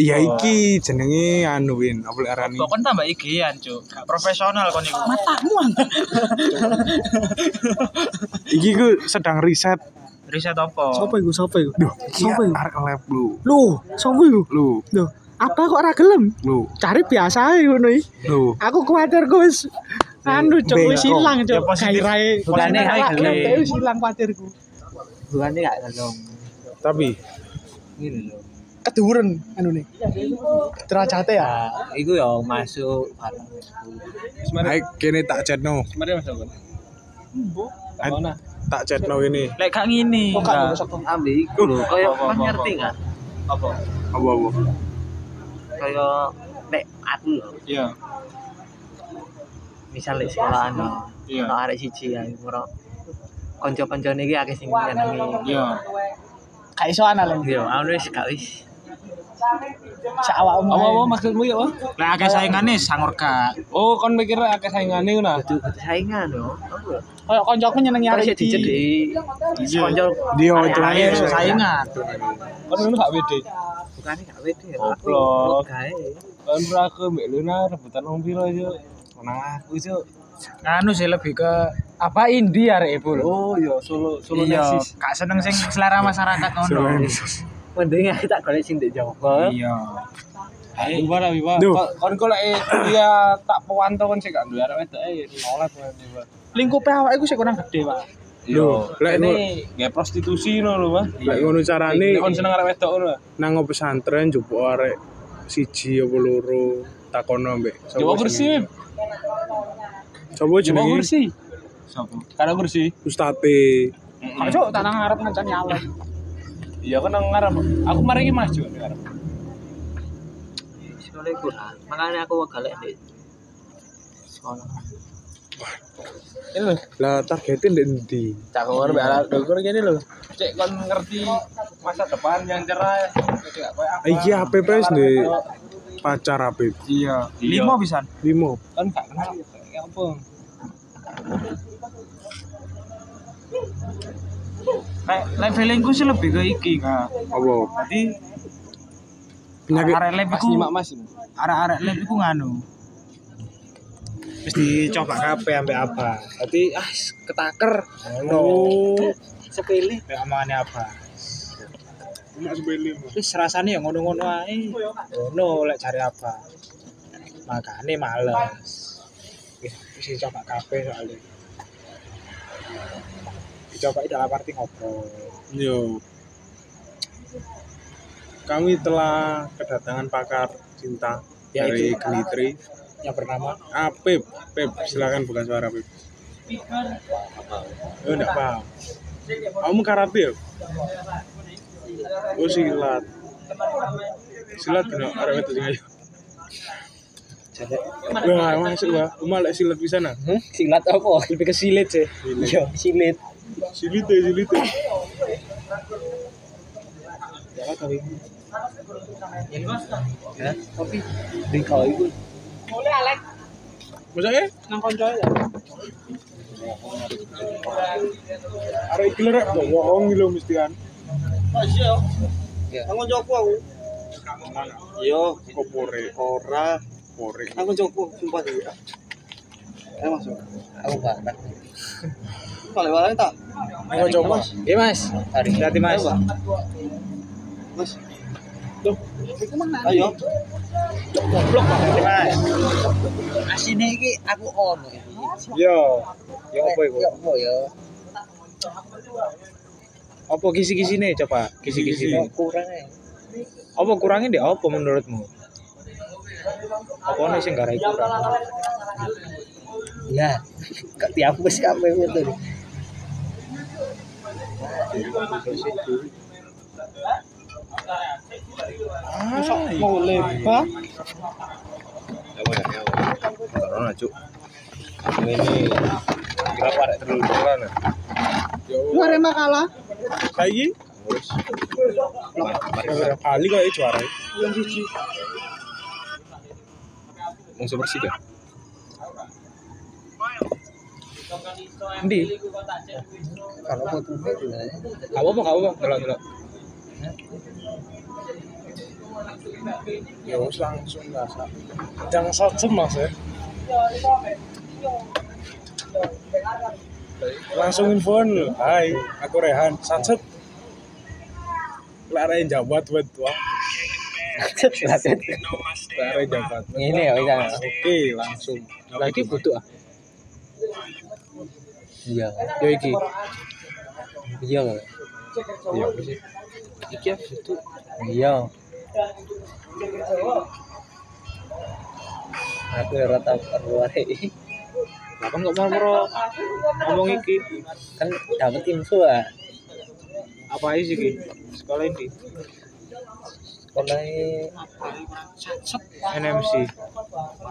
Speaker 1: Ya iki jenenge anu win, apa lek arani?
Speaker 2: Kok kon tambah IG-an, Cuk. Gak profesional kon iku. Matamu.
Speaker 1: Iki ku sedang riset.
Speaker 2: Riset apa?
Speaker 5: Sopo iku? Sopo iku?
Speaker 1: Duh, iki
Speaker 5: Sopo iku?
Speaker 1: arek lab lu.
Speaker 5: Loh, sopo iku?
Speaker 1: Lu,
Speaker 5: Loh, apa Oh, kok ora gelem?
Speaker 1: lu,
Speaker 5: Cari biasa ae ngono iki.
Speaker 1: lu.
Speaker 5: Aku kuwatir ku wis anu cok wis
Speaker 1: Bengkok.
Speaker 5: hilang
Speaker 2: Ya,
Speaker 5: cok
Speaker 2: positif.
Speaker 5: gairahe.
Speaker 3: Bukannya
Speaker 5: Positif
Speaker 3: gak
Speaker 5: awak
Speaker 3: gelem.
Speaker 5: dhewe wis hilang kuwatirku.
Speaker 3: bukannya gak gelem
Speaker 1: Tapi
Speaker 3: ini lho
Speaker 5: Keduren anune. Derajate ya.
Speaker 3: nah, itu ya masuk barang.
Speaker 1: Aik kene tak chatno.
Speaker 2: Mari Mas. Kon.
Speaker 1: Aik, Tak chatno ini.
Speaker 2: Lek gak ngene.
Speaker 5: Kok gak ngono sopo?
Speaker 3: ambil itu lho kayak kan ngerti kan
Speaker 2: Apa?
Speaker 1: Apa-apa.
Speaker 3: kayak nek aku lho
Speaker 2: Iya.
Speaker 3: misal di sekolahan lho
Speaker 2: Iya.
Speaker 3: kalau arek siji ya ora kanca-kancane iki akeh sing nyenengi
Speaker 2: Iya.
Speaker 5: Gak iso ana lho.
Speaker 3: yo aku wis gak wis
Speaker 5: Sak awakmu. ae.
Speaker 4: maksudmu ya, Bang?
Speaker 2: Lek akeh saingane sangor gak.
Speaker 4: Oh, kon mikir akeh saingane ngono. ah?
Speaker 3: kudu kudu saingan lho Apa lho?
Speaker 5: Kayak kancaku nyenengi
Speaker 3: terus ya
Speaker 5: arek iki.
Speaker 3: dicedhi kanca
Speaker 1: Dia
Speaker 3: Ayo,
Speaker 2: Ayo
Speaker 1: celain
Speaker 3: ayo,
Speaker 2: saingan.
Speaker 4: Kon ngono gak pede.
Speaker 3: bukane gak wede ya aku
Speaker 4: Goblok.
Speaker 3: gawe
Speaker 4: Kon ora aku mbek Luna rebutan wong pira yo. Menang aku yo.
Speaker 2: Nganu Anu sih lebih ke apa indie arek ibu lho.
Speaker 4: Oh, yo solo solo
Speaker 2: Iya,
Speaker 4: nesis.
Speaker 2: gak seneng sing selera masyarakat ngono.
Speaker 1: Celain.
Speaker 3: mending aku tak golek sing di Jawa
Speaker 2: Iya.
Speaker 4: Wibar lah, wibar.
Speaker 1: Duh.
Speaker 4: Kon- Kon kok lek kuliah tak pewantau kon sik gak duwe arek wedok e nolak kon wibar.
Speaker 5: Lingkupe awak iku sik kurang gede, Pak.
Speaker 1: Yo, lek
Speaker 4: ini
Speaker 1: ngono-
Speaker 4: gak prostitusi ngono lho, Bang.
Speaker 2: Iya.
Speaker 1: lek ngono carane
Speaker 4: Nek kon seneng arek wedok ngono. lah.
Speaker 1: nang pesantren jupuk arek siji apa loro takono mbek. sapa
Speaker 4: Coba kursi, Mim.
Speaker 1: jenenge. Sapa
Speaker 2: Iya,
Speaker 4: coba
Speaker 1: jenenge?
Speaker 4: kursi.
Speaker 2: Sopo?
Speaker 4: Karena kursi.
Speaker 1: Ustate.
Speaker 5: Kok cok tanah ngarep ngencani Allah.
Speaker 4: Iya kan nang ngarep. Aku mari iki Mas juga ngarep.
Speaker 3: soalnya kurang makanya aku golek di sekolah
Speaker 4: Ini lho,
Speaker 1: Lah targetin ndek ndi?
Speaker 4: cak ngono mbek arek dokter gini lho. Cek kon ngerti masa depan yang cerah. Cek gak koyo apa.
Speaker 1: Iki APP wis ndek pacar APP.
Speaker 2: Iya. Limo pisan.
Speaker 1: Limo.
Speaker 4: Kon gak kenal kayak apa.
Speaker 2: Lek lek feelingku sih lebih ke iki kak.
Speaker 1: Apa?
Speaker 2: Jadi
Speaker 1: Penyakit
Speaker 2: arek lab
Speaker 4: Mas
Speaker 2: iku
Speaker 4: nyimak Mas.
Speaker 2: arek-arek lab iku nganu. Wis dicoba kabeh ambek apa. Dadi ah ketaker.
Speaker 1: Oh.
Speaker 2: Sepele ambek omongane apa. Wis rasane ya ngono-ngono ae. Ngono lek cari apa. Makane males. Wis wis dicoba kabeh soalnya. Dicoba dalam arti ngobrol.
Speaker 1: Yo. Iya. Kami telah kedatangan pakar cinta dari
Speaker 2: Yaitu-
Speaker 1: Glitri.
Speaker 2: Yang bernama
Speaker 1: Ah, Pip, Pip, silakan buka suara Pip. Oh, enggak paham. Kamu karate ya? Oh, silat. Silat bener, arek wedok sing ayu. Wah, masuk wah. Uma lek silat pisan ah.
Speaker 2: Hmm? Silat apa? Lebih ke silit sih.
Speaker 1: Silit.
Speaker 2: Iya, silit.
Speaker 1: Silit deh, silit deh.
Speaker 2: Ya tapi
Speaker 3: ya tapi di kalau itu
Speaker 1: Masa ya?
Speaker 5: Nang kanca ae.
Speaker 1: Arek iki lerek kok bohong lho kan. mestian.
Speaker 5: Ah, iya, oh. Nang kanca aku.
Speaker 1: Yo, kok pore. Ora pore.
Speaker 5: Nang kanca aku sumpah. Eh masuk.
Speaker 3: aku parah
Speaker 5: Kalau wae tak.
Speaker 2: Ayo coba. Iya mas.
Speaker 3: hari Iya.
Speaker 2: Hati-hati mas.
Speaker 5: Mas. Ayo.
Speaker 2: Hati-hati mas.
Speaker 3: asine iki aku ono iki
Speaker 1: Iya.
Speaker 2: Yo. Yo apa iku?
Speaker 3: Ya apa ya
Speaker 2: Apa kisi-kisi nih coba? Kisi-kisi.
Speaker 1: Kisi-kisi.
Speaker 3: kurang ya
Speaker 2: Apa kurangin deh? Apa menurutmu? Apa nih sing garai kurang?
Speaker 3: ya kok dihapus kabeh itu
Speaker 5: Mau lebar.
Speaker 4: Corona cuk. Ini berapa arek terlalu ya? corona?
Speaker 5: Lu arek makalah.
Speaker 1: Saiki Berapa kali kok iki juara?
Speaker 4: ya? Musuh Persija.
Speaker 2: Endi?
Speaker 3: Kalau fotonya gimana?
Speaker 2: Gak apa-apa, gak apa-apa. Delok, delok.
Speaker 1: ya wis langsung lah Sak.
Speaker 2: Jangan sajam mas ya.
Speaker 1: langsung infoan lho hai aku Rehan sansep lare jabat wet wah lare jabat
Speaker 3: Ini ya, iya.
Speaker 1: oke langsung
Speaker 2: Lagi butuh ah.
Speaker 3: Iya,
Speaker 2: Yo iki.
Speaker 3: iya,
Speaker 2: Yo iki. Iki ya butuh.
Speaker 3: iya. Aku ya ora tau perlu arek.
Speaker 2: Lah kan kok mau ngomong iki.
Speaker 3: Kan dapat info ah.
Speaker 2: Apa aja sih iki? Sekolah ini.
Speaker 3: Sekolahnya
Speaker 2: NMC.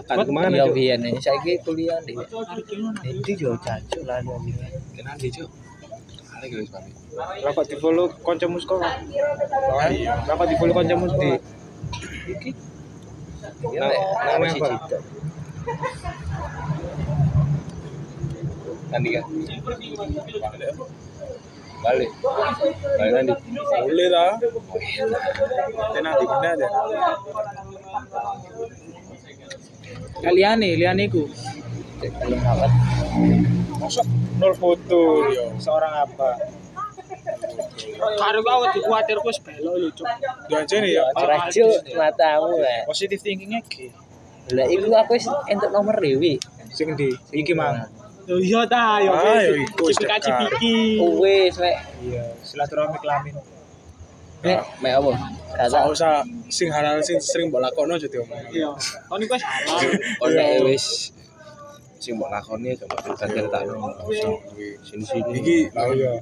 Speaker 2: Kan
Speaker 3: Kan
Speaker 2: kemana
Speaker 3: ya
Speaker 2: Cuk?
Speaker 3: biyen ini saiki kuliah nih. Itu yo jancuk lah yo.
Speaker 4: Kenal dia, Cuk. Ada guys, Pak.
Speaker 2: Lah kok di follow kancamu sekolah? Lah kok di follow kancamu di iki?
Speaker 3: Nah,
Speaker 2: Nang-
Speaker 3: harus
Speaker 2: nang apa?
Speaker 3: dicetak.
Speaker 4: Nanti kan. Balik. Balik nanti.
Speaker 1: boleh lah tenang di mana aja
Speaker 2: Lah liyane, liyane iku.
Speaker 3: Cek kalau ngawat.
Speaker 1: masuk nol foto yo seorang apa
Speaker 2: Karo aku dikuatir wis belok lho, Cuk.
Speaker 1: diajarin ya
Speaker 3: Racil matamu lah.
Speaker 2: Positive thinking-nya iki.
Speaker 3: Lah iku aku wis entuk nomor e, dewi.
Speaker 2: Sing ndi? Iki mang.
Speaker 5: Iya ta, yo.
Speaker 1: Ah, yo, iku wis
Speaker 5: Cipika
Speaker 1: dekat.
Speaker 5: cipiki.
Speaker 3: Wis mek
Speaker 1: iya silaturahmi kelamin
Speaker 3: mek mek apa? Gak
Speaker 1: Gak
Speaker 3: tau.
Speaker 1: usah sing halal sing sering mbok lakokno jadi omong.
Speaker 5: Iya. Kon iku salah.
Speaker 4: Oleh wis sing mbok lakoni coba kita ceritakno. Nggak usah kuwi. Sini-sini. Iki
Speaker 1: Iki lah iya.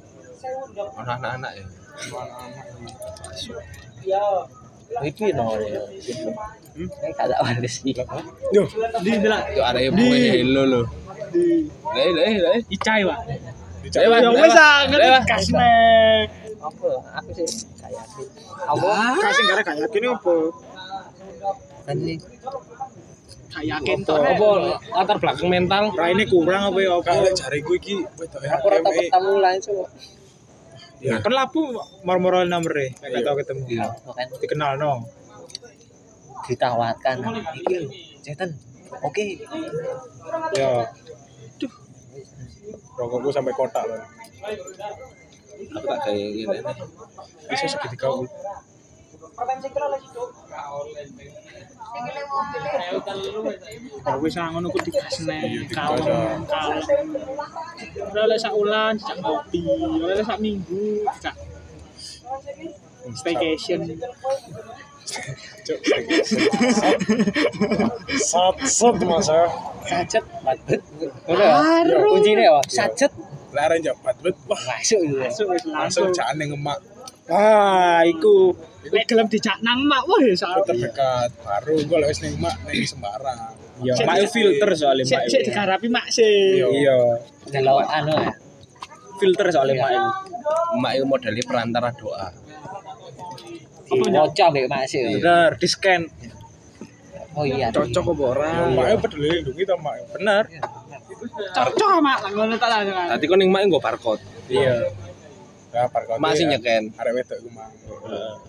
Speaker 4: anak-anak ya.
Speaker 3: Iki nomor ya. Nek gak tau wis iki.
Speaker 1: Yo,
Speaker 5: Hmm? Di delak.
Speaker 4: Itu ada yang pokoknya hello eh, lo. Leh, leh, leh.
Speaker 5: Icai, Pak.
Speaker 4: eh, Lewat,
Speaker 5: Yo wis
Speaker 4: lewat.
Speaker 5: ah, ngerti gas meh.
Speaker 3: Apa? Aku sih gak yakin. Apa?
Speaker 2: Kasih gara gak yakin apa?
Speaker 3: Kan sih.
Speaker 5: Gak yakin to.
Speaker 2: Apa latar belakang mental? Raine kurang apa ya apa?
Speaker 1: kalau jariku iki wedok ya. Iya.
Speaker 3: Aku ora tau ketemu langsung.
Speaker 2: Ya, kan lapu marmorol nomere, e. gak tau ketemu.
Speaker 3: Iya. Kan
Speaker 2: Dikenal no.
Speaker 3: ditawarkan. Iki lho. Cetan. Oke.
Speaker 1: Ya. Rokokku sampai kotak loh.
Speaker 4: Aku tak kayak gini.
Speaker 1: Bisa segitiga aku.
Speaker 5: Ya wis ah, ngono ku
Speaker 3: Iya,
Speaker 5: digasne.
Speaker 1: digas, ah.
Speaker 5: Kalem. kalem. Ora oleh sak ulan, sak ngopi, ora oleh sak minggu, sak staycation.
Speaker 1: Cuk. Sat sat mas ya.
Speaker 3: Sacet matbet. Ora. Kuncine apa? Sacet
Speaker 1: Laren jabat bet. Wah,
Speaker 3: masuk gitu.
Speaker 5: Masuk wis
Speaker 1: langsung
Speaker 5: langsung.
Speaker 1: jane ngemak
Speaker 2: Ah, iku.
Speaker 5: Nek gelem dijak nang mak, wah ya sak.
Speaker 1: terdekat. Baru gua lewis ning emak ning sembarang.
Speaker 2: Ya,
Speaker 5: Cek-
Speaker 2: mak filter soalnya
Speaker 5: Sik
Speaker 2: mak.
Speaker 5: sik digarapi mak sik.
Speaker 1: Iya.
Speaker 3: Delok anu ya.
Speaker 2: Filter soalnya
Speaker 4: Iya.
Speaker 2: mak.
Speaker 4: Emak itu modelnya perantara doa.
Speaker 3: Ngocok mek masuk.
Speaker 2: Bener, di scan.
Speaker 3: Oh
Speaker 2: Iya.
Speaker 3: iya.
Speaker 2: Cocok apa ora?
Speaker 1: Emaknya peduli lindungi ta mak.
Speaker 2: Bener.
Speaker 5: Cocok ah, mak, ngono tak langsung.
Speaker 4: Tadi kan yang emak gue parkot.
Speaker 1: Iya. Ya, parkot.
Speaker 4: Masih nyeken.
Speaker 1: Arek wedok ku mang.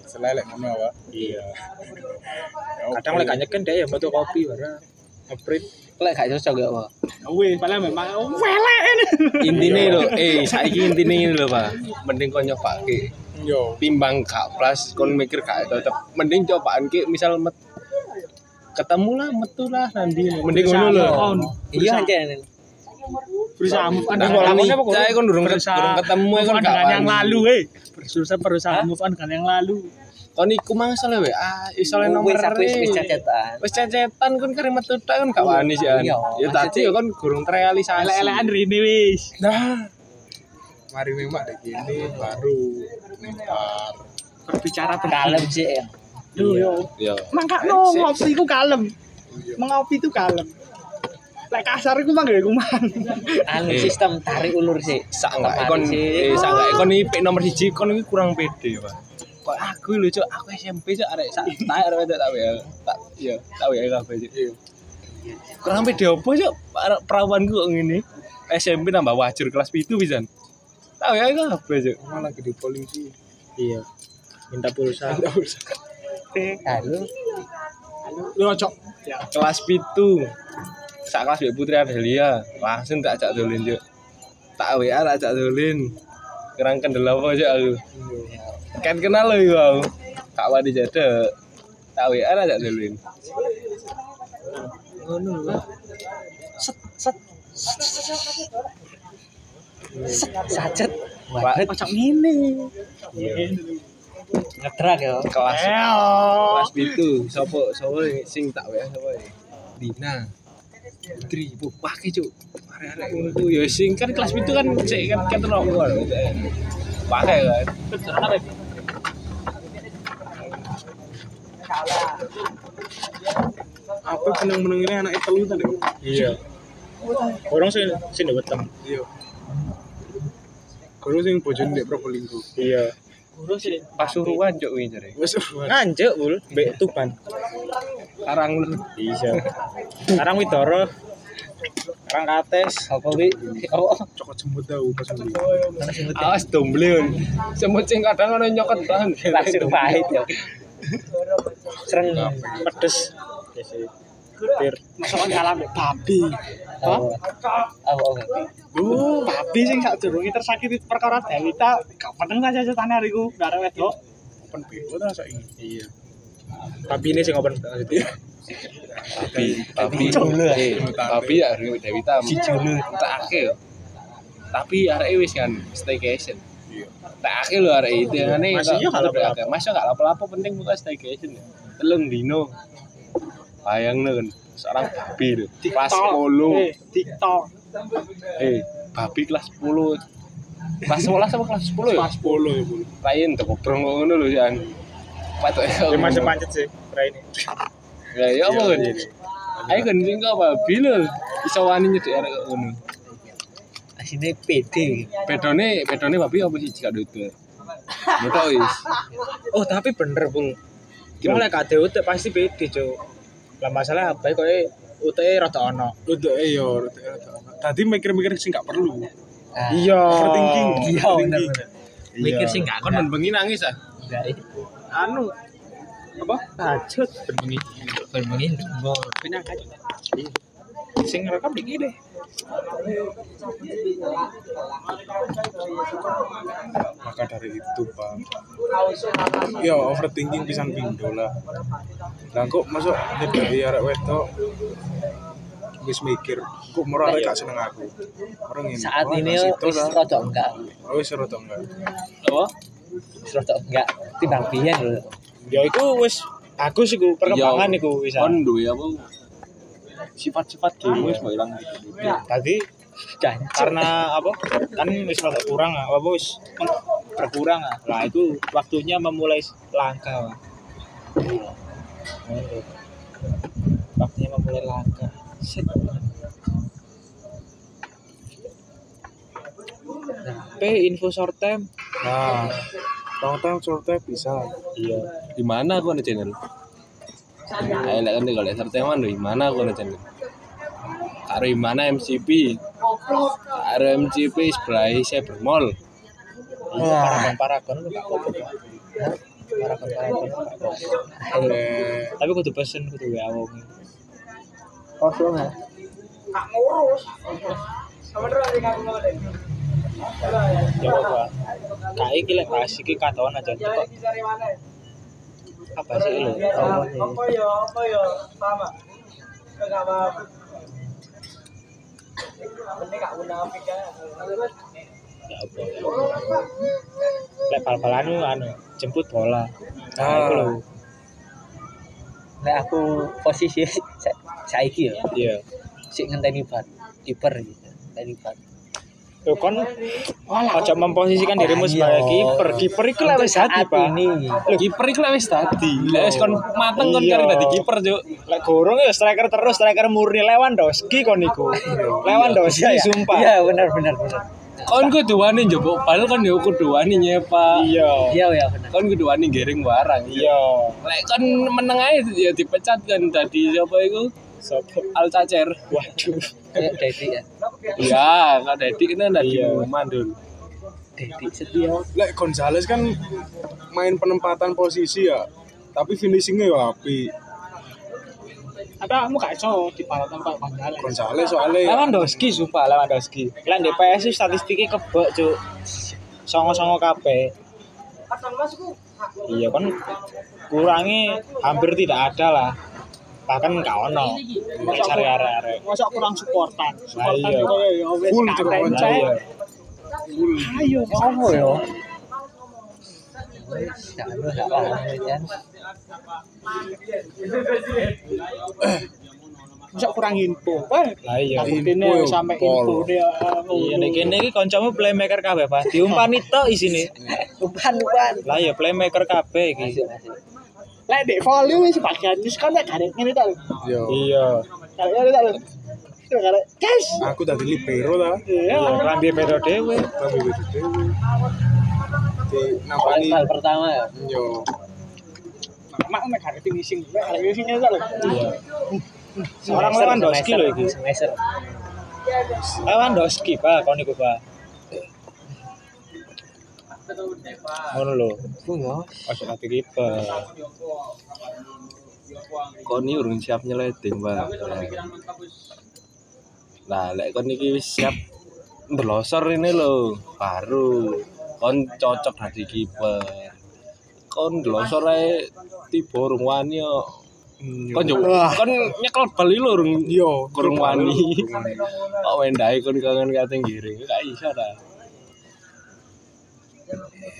Speaker 1: Selelek ngono apa?
Speaker 2: Iya.
Speaker 1: Ya,
Speaker 2: Kadang
Speaker 1: oke.
Speaker 2: lek gak nyeken deh ya foto kopi barang. Ngeprint.
Speaker 3: Lek gak cocok gak apa?
Speaker 5: Wih, padahal memang welek ini.
Speaker 4: Intinya lo, eh, saiki intinya ini lo pak. Mending kau nyopake.
Speaker 1: Yo.
Speaker 4: Timbang kak plus, kau mikir kak cocok. Mending cobaan ki, misal met ketemu lah, metu lah nanti. Mending ngono lo.
Speaker 5: Kon.
Speaker 3: Iya aja.
Speaker 5: Berusaha move on
Speaker 4: Nah,
Speaker 5: dengan-
Speaker 4: kalau nikah kan durung
Speaker 5: berusaha
Speaker 4: durung ketemu
Speaker 5: move
Speaker 4: kan
Speaker 5: on
Speaker 4: gak
Speaker 5: dengan yang
Speaker 4: wani.
Speaker 5: lalu, eh. Berusaha berusaha move on dengan yang lalu.
Speaker 4: Kon iku mang soalnya we, ah, soalnya nomor
Speaker 3: Wis aku wis cecetan.
Speaker 4: Wis cecetan kon kare metu tok kon gak wani sih. An.
Speaker 3: Iya,
Speaker 4: Ya tadi ya kon gurung terrealisasi.
Speaker 5: Elek-elekan Rini wis.
Speaker 1: Nah, mari memang dek ini baru nempar.
Speaker 5: Berbicara
Speaker 3: Kalem sih. ya.
Speaker 5: Duh,
Speaker 2: Iya,
Speaker 5: yo.
Speaker 4: Yo.
Speaker 5: Mangkat no ngopi ku kalem. Mengopi itu kalem. Lek kasar ku mangga ku mang.
Speaker 3: Anu
Speaker 2: Iya.
Speaker 3: sistem tarik ulur sih.
Speaker 4: Sak enggak
Speaker 3: Tarik
Speaker 4: kon
Speaker 3: sih.
Speaker 4: eh sak enggak kon iki nomor 1 kon iki kurang pede, Pak. Kok aku lho, Cuk, aku SMP Cuk arek sak tak arek wedok tak WL. Tak iya, tak WL kabeh Cuk. Kurang sampe diopo cuk perawanku kok ngene. SMP nambah wajur kelas 7 pisan. Tahu ya iku apa cuk.
Speaker 1: malah gede polisi
Speaker 2: iya minta pulsa
Speaker 3: Halo.
Speaker 1: lu cok
Speaker 4: Ya, Kelas 7. Sak kelas Mbak Putri Adelia, langsung tak ajak dolen cuk. Tak WA tak ajak dolen. Kurang kendel apa cuk aku. Kan kenal lho iku aku. Tak wani jadek. Tak WA tak ajak dolen.
Speaker 3: Sacet.
Speaker 4: Pak,
Speaker 5: Kocok ini.
Speaker 3: Iya. Ngetrak ya.
Speaker 4: kelas
Speaker 5: Eo.
Speaker 4: kelas itu sopo sopo sing tak wae sopo ya? Dina Putri bu pakai cuk arek-arek ngono ku ya sing kan kelas itu kan cek kan kan terlalu keluar gitu ya. pakai kan
Speaker 1: apa menang-menang ini anak telu tadi
Speaker 2: iya orang sih sih weteng
Speaker 1: iya kalau sing bojone ndek Probolinggo
Speaker 2: iya
Speaker 4: pasuruan cuk ini jare
Speaker 1: wes
Speaker 2: nganjuk bul mbek tuban
Speaker 4: karang lu
Speaker 2: iya karang widoro karang kates
Speaker 3: Apa wi? Oh,
Speaker 1: cokot jembut tau pas muli
Speaker 4: awas domble semut sing kadang ono nyokot tahan
Speaker 3: pasir pahit ya. Serem.
Speaker 2: pedes Iya sih. pir
Speaker 5: Masuk kalah mbek babi. Hah?
Speaker 3: Oh. Oh, oh.
Speaker 5: Uh, babi sing sadurunge tersakiti perkara Dewita, gak penting saja cetane hariku, gak ada wedok.
Speaker 1: open BO ta saiki
Speaker 2: iya tapi ini sih ngopen
Speaker 4: tapi tapi eh, tapi ya Dewi Dewita tak akeh yo. tapi arek wis kan staycation tak akeh lho arek itu yang aneh
Speaker 2: Masih yo gak lapo-lapo.
Speaker 4: masih gak lapo-lapo penting buka staycation ya telung dino bayang kan seorang babi lho kelas
Speaker 5: Tok.
Speaker 4: 10
Speaker 5: Eh, TikTok.
Speaker 4: eh babi kelas 10 kelas 11 sama kelas 10 ya
Speaker 1: pas polo ya bulu
Speaker 4: lain tuh ngobrol ngono lho Jan patok
Speaker 2: ya masih pancet sih kira ini
Speaker 4: ya ya apa kan ayo kan sing kok babi lho iso wani nyedek arek kok ngono
Speaker 3: Asine PD.
Speaker 4: pedone pedone babi apa sih jika duit Betul wis.
Speaker 2: oh tapi bener bul mulai
Speaker 4: Gimana?
Speaker 2: kade ute pasti beda cok lah masalah apa kok ute e rada ono
Speaker 1: udah eh yo tadi mikir-mikir sing gak perlu
Speaker 2: iya
Speaker 1: overthinking
Speaker 3: Iya,
Speaker 1: overthinking.
Speaker 3: bener-bener. Ah.
Speaker 1: Iya.
Speaker 3: Mikir sih enggak
Speaker 4: Kon
Speaker 3: kan.
Speaker 4: ben bengi nangis ah.
Speaker 3: Enggak. eh.
Speaker 2: anu apa tajud
Speaker 3: Ben bengi. Ben bengi. ndonga.
Speaker 2: punya tajud sing rekam iki deh
Speaker 1: maka dari itu bang ya overthinking pisan pindo lah lah kok masuk nyedai arek wedok wis mikir kok murah arek gak seneng aku orang ini
Speaker 3: iya. Saat
Speaker 1: wah,
Speaker 3: ini
Speaker 1: nasi itu
Speaker 3: wis
Speaker 1: lah.
Speaker 3: rada enggak.
Speaker 1: oh wis seru tau enggak
Speaker 4: Apa?
Speaker 3: Wis rada enggak timbang biyen lho.
Speaker 2: ya iku wis bagus iku perkembangan
Speaker 4: Iya.
Speaker 2: iku wis ah.
Speaker 4: Kon duwe apa? Sifat-sifat dhewe wis mau ilang.
Speaker 2: tadi
Speaker 3: Dan
Speaker 2: karena apa kan wis rada kurang ah apa wis berkurang ah lah itu waktunya memulai langka Wak. waktunya memulai langka Sip. P info short term
Speaker 1: nah long time short time bisa
Speaker 2: iya
Speaker 4: Di mana kon channel? Ayo lek kan kalau serta yang mana di mana kon channel? Karo di mana MCP? Karo MCP sebelah Cybermall.
Speaker 2: paragon paragon lu gak apa-apa Pak. paragon paragon lu gak apa-apa.
Speaker 1: eh
Speaker 2: tapi kudu pesen kudu wa wong
Speaker 3: kosong ah.
Speaker 2: Ya apa? Kak iki lek bahas iki katon aja kok. Apa sih lo?
Speaker 3: Apa ya? Apa ya? Sama. Enggak apa-apa. Ini gak munafik
Speaker 2: Ya
Speaker 3: ya.
Speaker 2: apa? ya apa. Lek bal-balan lu anu jemput bola. Nah,
Speaker 1: Ah.
Speaker 2: iku lho.
Speaker 3: Nah, aku posisi sa- saiki ya.
Speaker 2: Iya.
Speaker 3: Sik ngenteni ban kiper gitu. Ngenteni ban.
Speaker 2: Yo kon ojo memposisikan dirimu sebagai
Speaker 3: Ayo.
Speaker 2: kiper. Kiper iku lek wis
Speaker 3: Saat
Speaker 2: dadi, Pak.
Speaker 3: ini.
Speaker 4: Kiper iku lah wis tadi. Lah wis kon mateng kon
Speaker 2: Iya.
Speaker 4: karo dadi kiper, Cuk.
Speaker 2: Lek gorong ya striker terus, striker murni Lewandowski kon iku. Lewandowski
Speaker 3: Iya,
Speaker 2: sumpah.
Speaker 3: benar benar benar.
Speaker 4: Kon kudu wani njupuk bal kon yo kudu wani nyepak.
Speaker 2: Iya.
Speaker 3: Iya, ya benar.
Speaker 4: Kon kudu wani gering barang.
Speaker 2: Iya.
Speaker 4: Lek kon meneng ae ya dipecat kan tadi siapa iku?
Speaker 1: Sopo?
Speaker 4: Al Cacer.
Speaker 1: Waduh.
Speaker 3: Kayak Dedi ya.
Speaker 4: Iya, enggak Dedik ini ada di
Speaker 1: Iya.
Speaker 4: rumah dulu.
Speaker 3: Dedi setia.
Speaker 1: Lek Gonzales kan main penempatan posisi ya. Tapi finishingnya ya api.
Speaker 5: Tapi kamu gak iso dibalas tanpa Gonzales.
Speaker 1: Gonzales soalnya
Speaker 2: Lewandowski sumpah Lewandowski. Lah di PS itu statistiknya kebek cuk. Songo-songo kabeh. Iya kan kurangi hampir tidak ada lah. Bahkan gak ono. Kayak cari arek-arek.
Speaker 5: Masa kurang supportan. Supportan
Speaker 2: iya.
Speaker 5: juga ya ya wis
Speaker 1: Full
Speaker 5: gak
Speaker 1: cuma
Speaker 5: ada yang
Speaker 1: Gonzales.
Speaker 5: cek.
Speaker 2: Lah, iya.
Speaker 5: Ayo
Speaker 3: Apa ya? Gak ada, gak ada, ya.
Speaker 5: masa kurang info. Wah,
Speaker 2: Lah iya.
Speaker 5: aku
Speaker 1: info
Speaker 5: dene
Speaker 1: ya,
Speaker 5: sampai
Speaker 1: Pol.
Speaker 5: info dia.
Speaker 2: Iya nek kene iki kancamu playmaker kabeh, Pak. Diumpani tok isine.
Speaker 3: Umpan, umpan.
Speaker 2: Lah ya playmaker kabeh iki.
Speaker 3: Masuk, masuk.
Speaker 5: Lek dek volley wis bagian wis kan lek garek ngene tak. lho.
Speaker 1: ya.
Speaker 2: Iya.
Speaker 5: Garek ngene tak. lho. Itu Garek. Guys.
Speaker 1: Aku tadi libero lah.
Speaker 5: Iya.
Speaker 2: Iya, Rambi Pedro dewe.
Speaker 1: Tapi itu dewe. Di nampani
Speaker 3: Soal pertama ya.
Speaker 1: yo.
Speaker 5: Mak mek garek finishing. Mek garek finishing tak lho.
Speaker 2: Seorang
Speaker 3: Semester,
Speaker 2: Lewandowski
Speaker 3: semester,
Speaker 2: lho iki.
Speaker 3: Semester.
Speaker 2: Lewandowski, Pak, kon niku, Pak. Ngono lho.
Speaker 3: Bungo.
Speaker 2: Ojo ati kiper.
Speaker 4: Kon ini urung siap nyeleding, Pak. Nah, lek kon iki wis siap berlosor ini lho, baru kon cocok dadi kiper. Kon delosor ae tiba urung wani kok.
Speaker 1: Yo.
Speaker 4: Kon jung- kon nyekel bal iki lho urung
Speaker 1: Yo,
Speaker 4: kurung wani.
Speaker 1: kurung wani.
Speaker 4: Kok wendahe kon kangen kating giring, gak iso ta.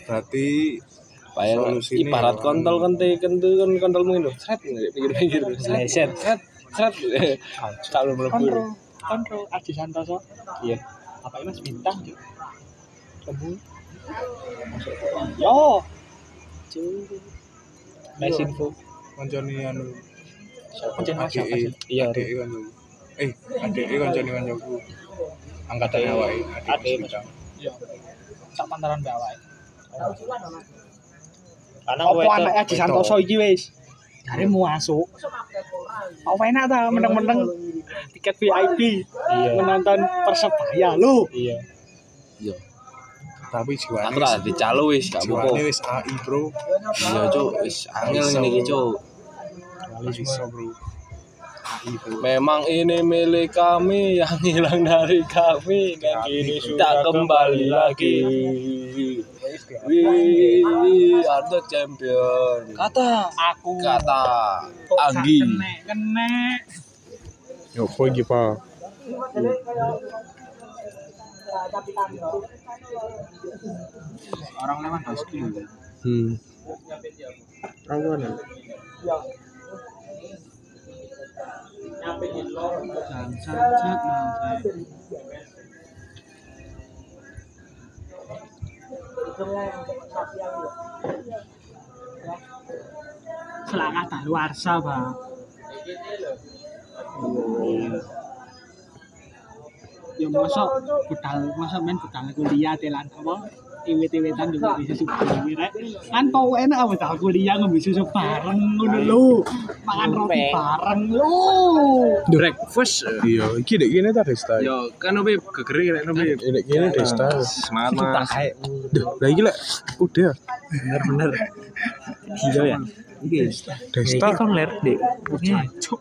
Speaker 1: Berarti
Speaker 4: Bayar
Speaker 1: Solusi ini ya,
Speaker 4: ibarat kontol kon te kentu kon kontol mungkin lho, sret pinggir-pinggir. Sret, sret, sret. Kalau mlebu.
Speaker 5: Kontrol. Kontrol Aji Santoso.
Speaker 4: Iya.
Speaker 5: Apa Mas bintang, Cuk? Kebun. Yo. Cuk.
Speaker 2: Nice
Speaker 5: Iya.
Speaker 2: info.
Speaker 1: kancane anu
Speaker 5: Kancane Mas siapa
Speaker 1: ADE.
Speaker 5: sih?
Speaker 2: Iya,
Speaker 1: ADE kancaku. Eh, ADE kancane kancaku. Angkatan
Speaker 2: ADE.
Speaker 1: awake.
Speaker 2: ADE.
Speaker 1: ADE. Mas Bintang.
Speaker 5: Yo. Sak pantaran mbak awake.
Speaker 2: Ana
Speaker 5: Apa anaknya Aji Santoso iki wis? Dari mau masuk. Apa enak ta meneng-meneng tiket VIP
Speaker 2: Iya.
Speaker 5: menonton Persebaya lu.
Speaker 2: Iya.
Speaker 4: Yo,
Speaker 1: Tapi
Speaker 4: aku
Speaker 1: jiwane
Speaker 4: tak dicalo wis gak apa-apa.
Speaker 1: jiwane wis AI, Bro.
Speaker 4: Iya cuk, wis angel
Speaker 1: Iso.
Speaker 4: ngene iki cuk.
Speaker 1: Iso, Bro. AI, Bro.
Speaker 4: Memang ini milik kami yang hilang dari kami dan kini sudah kembali lagi. We are the champion.
Speaker 5: Kata aku
Speaker 4: Kata Anggi.
Speaker 5: kena
Speaker 1: Yo, kok iki, Pak?
Speaker 5: orang Lewandowski.
Speaker 4: Hmm.
Speaker 5: Selamat daluarsa, Bang. Ya masa budal masa main budal kuliah telan apa iwit-iwitan juga bisa sebarang rek. Kan tau enak apa budal kuliah ngombe susu bareng ngono lho. Makan roti bareng lho.
Speaker 4: Durek first.
Speaker 1: Iya, iki dek kene ta Desta.
Speaker 5: Iya.
Speaker 4: Yo, kan obe gegeri rek nobe.
Speaker 1: Dek kene Desta.
Speaker 5: Iya.
Speaker 4: Semangat Mas.
Speaker 1: Duh, lah iki lek udah
Speaker 3: Bener-bener. Gila ya. Iya.
Speaker 1: Desta.
Speaker 3: Iki kon ler, Dek.
Speaker 5: Cuk.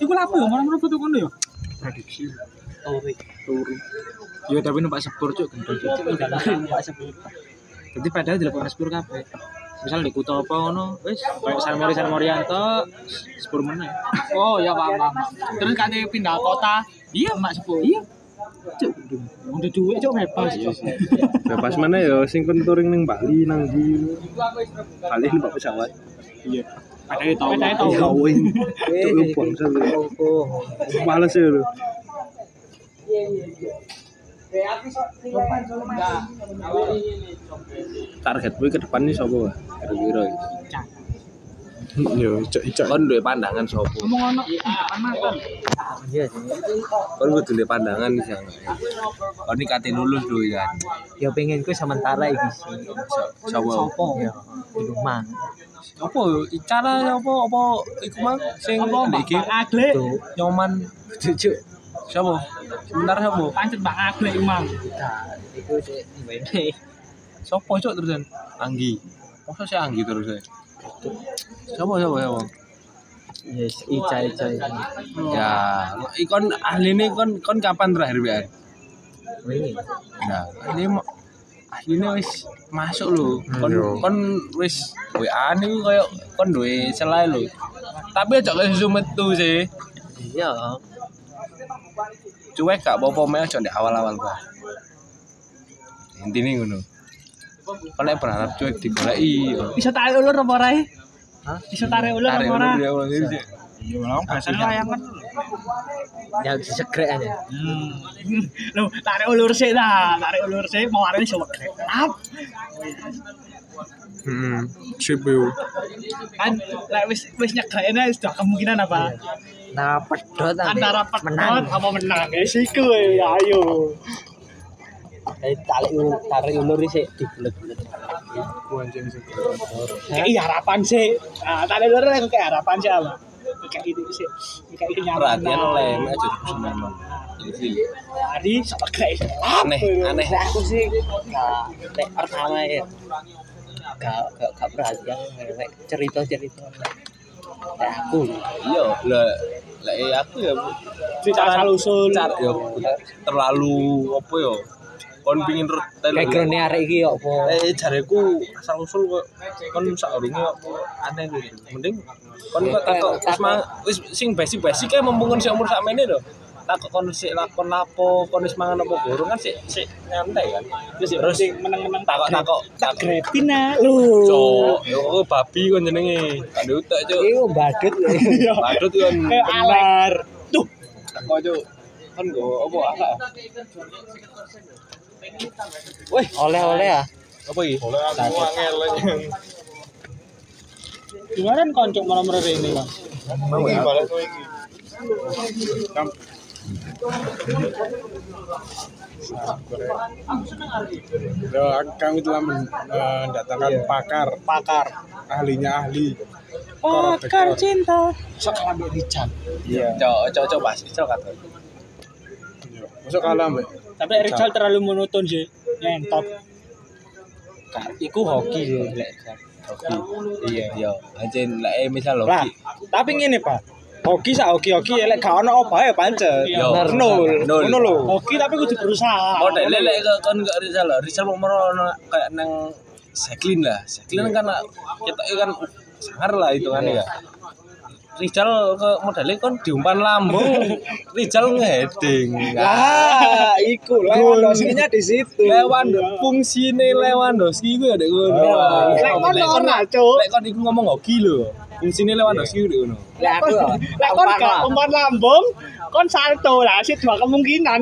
Speaker 5: Iku lha apa ya ngono-ngono foto kono ya?
Speaker 1: prediksi.
Speaker 2: Yo tapi numpak sepur cuk gendong cuk.
Speaker 5: Iya,
Speaker 2: Dadi padahal dilakukan sepur kabeh. Misal di kota apa ngono, wis kayak San Mori San Morianto sepur meneh.
Speaker 5: Oh ya paham paham. Terus kate pindah kota. Iya mak sepuluh. Iya. Cuk, udah duit cuk bebas. Cuk.
Speaker 4: Bebas mana yo sing kon touring ning Bali nang ndi. Bali numpak pesawat.
Speaker 5: Padahal tahu. Padahal tahu.
Speaker 4: wing. Cuk lu bangsa lu. Males ya lu. Targetmu ke depan nih sapa? Kira-kira.
Speaker 5: Cak.
Speaker 1: Yo, cek-cek.
Speaker 4: kon duwe pandangan sopo
Speaker 5: ngomong ono depan mata
Speaker 3: iya sih
Speaker 4: kon kudu duwe pandangan sih kon iki kate lulus dulu kan
Speaker 3: ya pengen ku sementara iki sih
Speaker 4: sopo
Speaker 5: sopo
Speaker 3: ya di rumah
Speaker 4: apa cara apa apa iku mang sing
Speaker 5: apa mbak
Speaker 4: iki
Speaker 5: Agle
Speaker 3: tuh
Speaker 4: nyoman
Speaker 3: cucu
Speaker 4: sopo sebentar sopo
Speaker 5: pancet mbak Agle imam
Speaker 3: nah itu sih ini
Speaker 4: sopo cok terusan Anggi masa sih Anggi terus ya sopo sopo sopo
Speaker 3: yes ica ica ica
Speaker 4: ya ikon ahli ini kon kon kapan terakhir biar
Speaker 3: Oh, ini
Speaker 4: Nah, ini mo- akhirnya wis masuk lho. Kon
Speaker 1: Iya.
Speaker 4: kon wis WA niku koyo kon duwe selai lho. Tapi aja kaya susu metu sih.
Speaker 3: iya
Speaker 4: Cuek gak apa-apa meh aja ndek awal-awal kok. Intine ngono. Kon nek berharap cuek digoleki.
Speaker 5: bisa tarik ulur apa ora eh?
Speaker 3: Hah?
Speaker 5: bisa tarik ulur
Speaker 4: Tarik
Speaker 5: apa ora
Speaker 4: dulu ya, Bang. Ini sih.
Speaker 5: iya lah biasanya layangan
Speaker 3: yang disegrek Ya, aja
Speaker 5: Loh, tarik ulur sih dah, tarik ulur sih, mau hari ini coba kerap.
Speaker 1: Heeh. Sip yo.
Speaker 5: Kan, lek wis wis nyegrain aja sudah kemungkinan apa?
Speaker 4: Iya,
Speaker 3: antara pedot ambek
Speaker 5: Antara pedot
Speaker 3: menang
Speaker 5: apa menang? Ya siku ya, ayo.
Speaker 3: dari tarik ulur tarik ulur sih dibulet-bulet
Speaker 1: Ku anjing sih.
Speaker 5: Kayak harapan sih. Nah, tarik ulur aku kayak harapan sih apa? Kayak itu sih, kayak kenyamanan.
Speaker 4: Perhatian oleh meh aja seneng.
Speaker 5: Hari sama kerja.
Speaker 4: Aneh, aneh.
Speaker 3: Nah, aku sih gak nek pertama ya gak gak gak perhatian nek cerita cerita nah aku
Speaker 4: Iya, lah lah eh, aku ya Bu.
Speaker 5: Cerita asal usul.
Speaker 4: car ya Bu. terlalu apa ya? Kon pingin retel.
Speaker 3: backgroundnya arek iki yo apa
Speaker 4: eh jareku asal usul kok kon sak urunge kok aneh gitu mending kon kok takok wis ma wis sing basic basic kae mumpung kon sik umur sakmene lho takok kon sik lakon lapo kon wis mangan apa gorong kan sik sik nyantai kan terus terus
Speaker 5: menang-menang
Speaker 4: takok takok
Speaker 5: tak
Speaker 4: takok
Speaker 5: grepina lu.
Speaker 4: cok yo kok babi kon jenenge kan utek cok
Speaker 3: iku badut
Speaker 5: Iya.
Speaker 4: badut kon
Speaker 5: Kayak alar. Tuh,
Speaker 4: takok cok kon go apa akak Woi,
Speaker 3: oleh-oleh ya
Speaker 4: apa iki?
Speaker 5: gimana kan koncok malam hari ini, Bang?
Speaker 1: Yo, kami telah eh, mendatangkan pakar,
Speaker 5: Pakar.
Speaker 1: ahlinya ahli. Korek-korek.
Speaker 5: Pakar cinta. Sok ambil Richard.
Speaker 1: Iya.
Speaker 4: Cok, cok, cok, pasti cok kata.
Speaker 1: Yo. Masuk kalah, Mbak.
Speaker 5: Tapi Richard terlalu monoton sih. Ngentot.
Speaker 3: iku hoki sih lek
Speaker 4: Oke. Iya, iya. Anjen lah eh misal lho.
Speaker 2: Lah, tapi ngene, Pak. Hoki sak hoki-hoki ya, lek gak ono obahe pancet.
Speaker 5: Iya.
Speaker 4: Yo.
Speaker 2: Nol,
Speaker 4: Nol.
Speaker 2: ngono lho.
Speaker 5: Hoki tapi kudu berusaha.
Speaker 3: Oh,
Speaker 4: Model lek ke- kon gak Rizal lho. Rizal mau merono kayak nang Seklin lah. Seklin kan kita kan sangar lah itu kan ya. Rizal ke modelnya kon diumpan lambung. Rizal ngeheading.
Speaker 2: Lah, iku Lewandowski-nya di situ.
Speaker 4: Lewan fungsine Lewandowski iku ya dek ngono.
Speaker 5: Lek kon ora, Cuk.
Speaker 4: Lek kon iku ngomong hoki lho. Fungsine Lewandowski iku dek ngono.
Speaker 3: lek aku yo,
Speaker 5: Lek kon gak umpan lambung, kon salto lah, sih dua kemungkinan.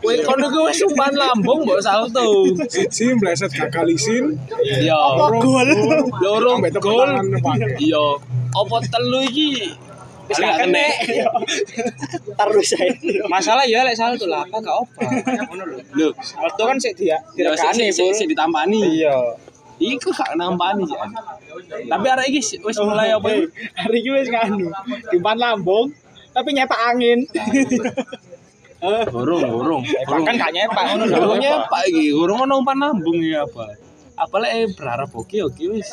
Speaker 4: Kowe kon iku wis umpan lambung mbok salto.
Speaker 1: Siji meleset kakak lisin,
Speaker 4: Iya.
Speaker 1: gol.
Speaker 4: Loro
Speaker 1: Sampai tepuk
Speaker 4: gol.
Speaker 1: tangan depan.
Speaker 4: Iya. Apa telu iki? Wis
Speaker 2: Gak
Speaker 4: gak kena. Iya.
Speaker 2: kena.
Speaker 5: Terus saya.
Speaker 2: Masalah ya lek salto lah, apa gak obah. Ngono lho.
Speaker 4: Lho,
Speaker 2: Salto kan sik dia
Speaker 4: ya
Speaker 2: diregani,
Speaker 4: sik
Speaker 2: Bul.
Speaker 4: sik ditampani.
Speaker 2: Iya.
Speaker 4: Iku gak nampani sih. An. Tapi arek iki sik- wis mulai apa
Speaker 5: Oh,
Speaker 4: iki?
Speaker 5: iya, Hari ini wis nganu. Umpan lambung, tapi nyepak angin.
Speaker 4: Gorong, gorong. Gorong.
Speaker 2: Kan gak nyepak ngono lho.
Speaker 4: Gorongnya apa iki? Gorong ono umpan lambung ya apa? Apalagi eh, berharap oke oke wis.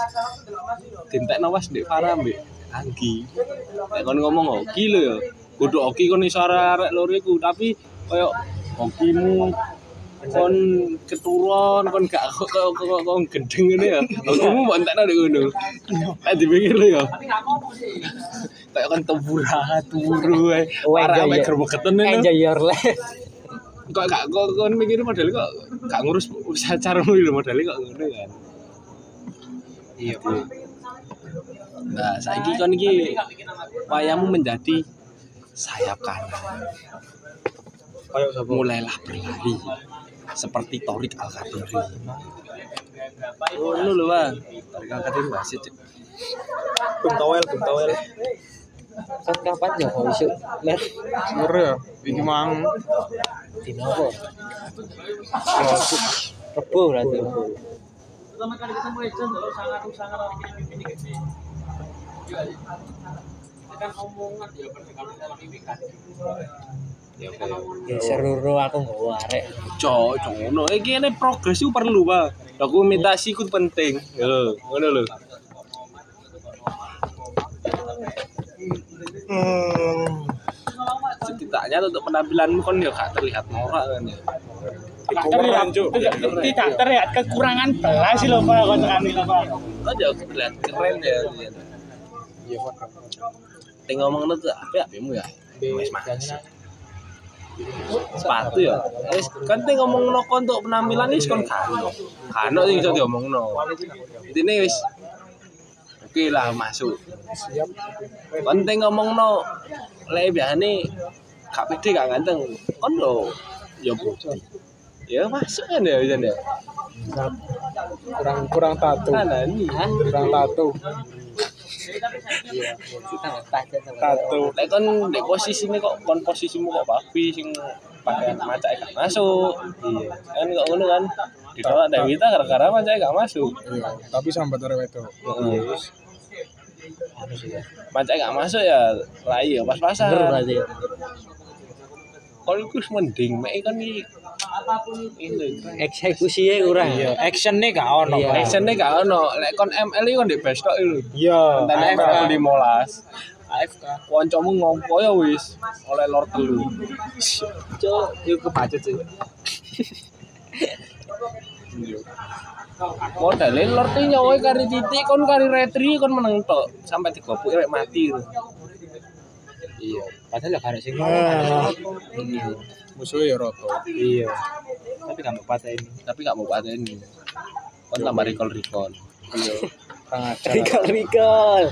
Speaker 4: Dintek nawas ndek Farah mbek Anggi. Nek kon ngomong oke lho ya. Kudu oke kon iso arek loro iku, tapi koyo hokimu kon keturun kon gak kok kok kok kon gendeng ngene ya. Hokimu mbok entekno ndek ngono. Tak dipikir lho ya. Kayak kon tebura turu ae.
Speaker 3: Oh,
Speaker 4: Arek
Speaker 3: enjoy
Speaker 4: ae
Speaker 3: ya.
Speaker 4: gerbeketen lho
Speaker 3: enjoy your life
Speaker 4: kok gak kok kon mikir model kok gak ngurus usaha caramu lho model kok ngono kan. Iya, Bu. Nah, saiki kon iki wayamu menjadi sayap kanan. Mulailah berlari seperti Torik Al Kadiri. Ngono lho, Bang. Tarik angkat itu wasit. Cuk.
Speaker 1: Bentawel, bentawel.
Speaker 3: kan kapan Jokowi sih lihat
Speaker 2: Sebenernya ya, ini mang
Speaker 3: di nopo rebo berarti
Speaker 5: pertama kali ketemu Ejen loh sangat sangat bikin ini gede kan omongan ya kalau dalam ini kan
Speaker 3: ya seru aku nggak warek
Speaker 4: Cok, cok ngono. Iki ini progres itu perlu, Pak. Dokumentasi itu penting. Lho, ngono lho. Setidaknya untuk penampilanmu kan ya gak terlihat norak kan ya.
Speaker 1: Keren, Cuk.
Speaker 5: tidak terlihat kekurangan belas sih loh pak kalau kami loh pak
Speaker 4: Oh, ya terlihat keren ya. Iya, Ting ngomong itu apa ya, apimu ya? Wes makasih. Sepatu ya. Wes kan ting ngomong no untuk penampilan wis kon kan. Kan sing iso diomong no. Intine wis Oke lah masuk. Siap. Kon ting ngomong no lek biasane gak pede gak ganteng. Kon lo ya bukti. Ya masuk kan ya bisa ya.
Speaker 1: Kurang kurang tato,
Speaker 4: Kan ini.
Speaker 1: kurang tato.
Speaker 3: kita tajam sama
Speaker 1: Tato.
Speaker 4: Lek kon di posisi ini kok kon posisimu kok babi sing pakaian maca gak masuk. Iya. Kan kok ngono kan. Ditolak Dewita gara-gara maca gak masuk.
Speaker 1: Tapi sambat arep wedok.
Speaker 4: Heeh. Maca gak masuk ya lah iya pas-pasan.
Speaker 3: bener berarti ya.
Speaker 4: Kon iku wis mending mek kan iki ini
Speaker 3: eksekusinya kurang
Speaker 2: Iya, actionnya gak ono
Speaker 3: Iya.
Speaker 2: Action.
Speaker 4: actionnya gak ono lek kon ML iki kon di best tok lho
Speaker 2: Iya
Speaker 4: Tentang
Speaker 3: AFK.
Speaker 4: aku 15 AFK Koncomu ngompo ya wis Oleh lor telu Cuk, yuk kepacut sih Modalnya lor tuh nyawa kari titik Kon kari retri kon meneng tok Sampai digopuk rek mati Iya
Speaker 3: padahal ya karek sing
Speaker 1: Musuhnya ya roto.
Speaker 2: Iya Tapi gak mau patah ini
Speaker 4: Tapi gak mau pateni Kon tambah recall recall Iya
Speaker 2: Pengajar
Speaker 3: recall recall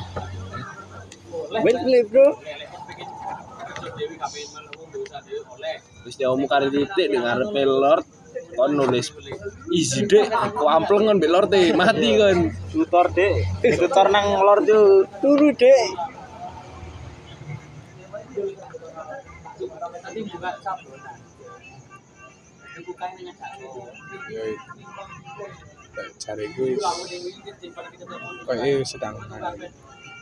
Speaker 3: wait play bro
Speaker 4: Terus nyawamu kari titik di ngarepe lor Kon nulis Easy dek, kok ampleng kan be lor teh Mati kan
Speaker 2: Tutor deh Tutor nang lor tuh
Speaker 3: turu dek
Speaker 1: Ya. Cari gue. Kayak sedang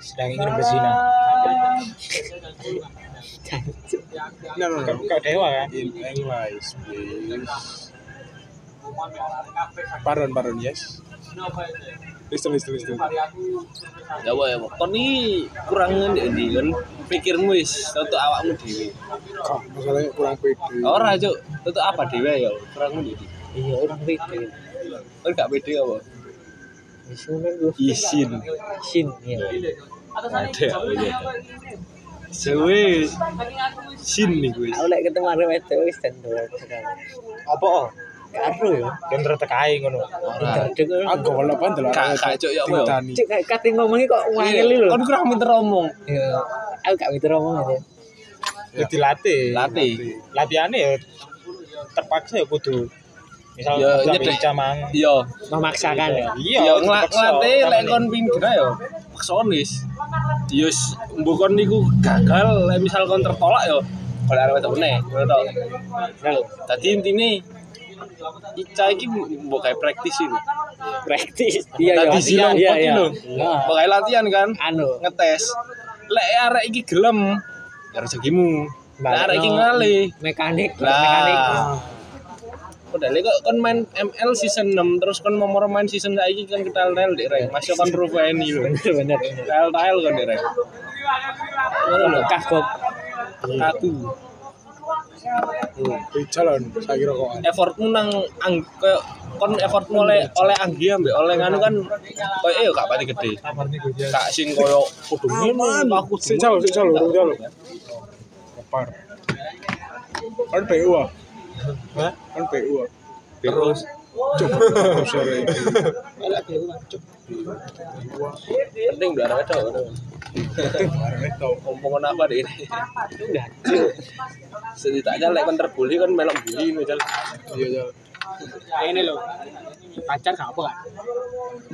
Speaker 2: Sedang ingin berzina
Speaker 1: No, no, no.
Speaker 2: Kau dewa kan
Speaker 1: In English, please. Pardon, pardon, yes. Listen, listen, listen.
Speaker 4: Ya apa ya, apa? kon ini kurang ndek ndi kan pikirmu wis untuk awakmu dhewe.
Speaker 1: Kok masalahnya kurang pede.
Speaker 2: Oh.
Speaker 4: Ora, Cuk, untuk apa dhewe ya kurang ndek ndi.
Speaker 3: iya orang pikir
Speaker 4: Kon gak pede apa?
Speaker 3: wis ngono iku.
Speaker 4: Isin.
Speaker 3: sin ya
Speaker 4: Ada apa ya? Sewe. Sin nih gue.
Speaker 3: aku lek ketemu arek wedok wis tentu
Speaker 2: Apa oh?
Speaker 3: karo ya
Speaker 2: Yang tertekai ngono
Speaker 4: Ora.
Speaker 3: Duduk.
Speaker 1: Aku kalau pan telah.
Speaker 4: Kak, kak, Cuk, ya apa ya?
Speaker 1: Tintani.
Speaker 3: Cuk, kayak kate ngomongnya kok wangil lho.
Speaker 4: Kon Iya. Kan kurang pinter omong.
Speaker 3: Iya. Aku gak mikir ngomong aja.
Speaker 2: Ya dilatih
Speaker 4: Latih.
Speaker 2: Latihannya ya terpaksa ya kudu Misal
Speaker 4: Ya,
Speaker 2: kerja
Speaker 4: nyedek.
Speaker 2: beca mang
Speaker 4: Yo,
Speaker 3: Memaksakan ya.
Speaker 4: yo
Speaker 2: kudu
Speaker 4: ngelak
Speaker 2: paksa.
Speaker 4: ngelatih iya, lek
Speaker 2: Iya, Tapi-
Speaker 4: kon pinter yo. Paksaon wis. Yo s- mbok kon niku gagal lek misal kon tertolak yo. Kalau arep wedok meneh, ngono to.
Speaker 3: Nel,
Speaker 4: Tadi intine Ica iki mbok kayak praktis ini.
Speaker 3: praktis. Iya, iya.
Speaker 4: Tadi silang
Speaker 3: Iya,
Speaker 4: pot
Speaker 3: iya.
Speaker 4: lho.
Speaker 3: Nah,
Speaker 4: Mbok kayak latihan kan,
Speaker 3: Anu,
Speaker 4: ngetes. Lek arek iki gelem, ya rezekimu. Lek
Speaker 3: Nah,
Speaker 4: arek iki ngalih.
Speaker 3: mekanik, mekanik.
Speaker 4: Lah. Padahal kok kon main ML season 6 terus kon mau moro main season saiki kan kita tel di rank. Masih kon proveni lho.
Speaker 3: Bener, bener.
Speaker 4: Tel tel kon di rank. Ngono lho,
Speaker 3: Kagok.
Speaker 4: Aku
Speaker 1: Di jalan, saya kira kok.
Speaker 4: effortmu nang ang koyo kon effortmu oleh oleh anggi ambek oleh nganu kan koyo eh gak pati gede. Kak sing koyo kudu ngono aku
Speaker 1: Si jalan, si jalan, urung jalan. Kepar. Kan PU ah. Kan PU ah.
Speaker 4: terus
Speaker 1: Cuk. Oh, sorry.
Speaker 4: penting udah ada wedok. Ngomong apa deh ini? Setidaknya lek kon terbuli kan melok buli misal.
Speaker 1: Iya, jalan.
Speaker 5: Kayak ini lho. Pacar gak apa kan?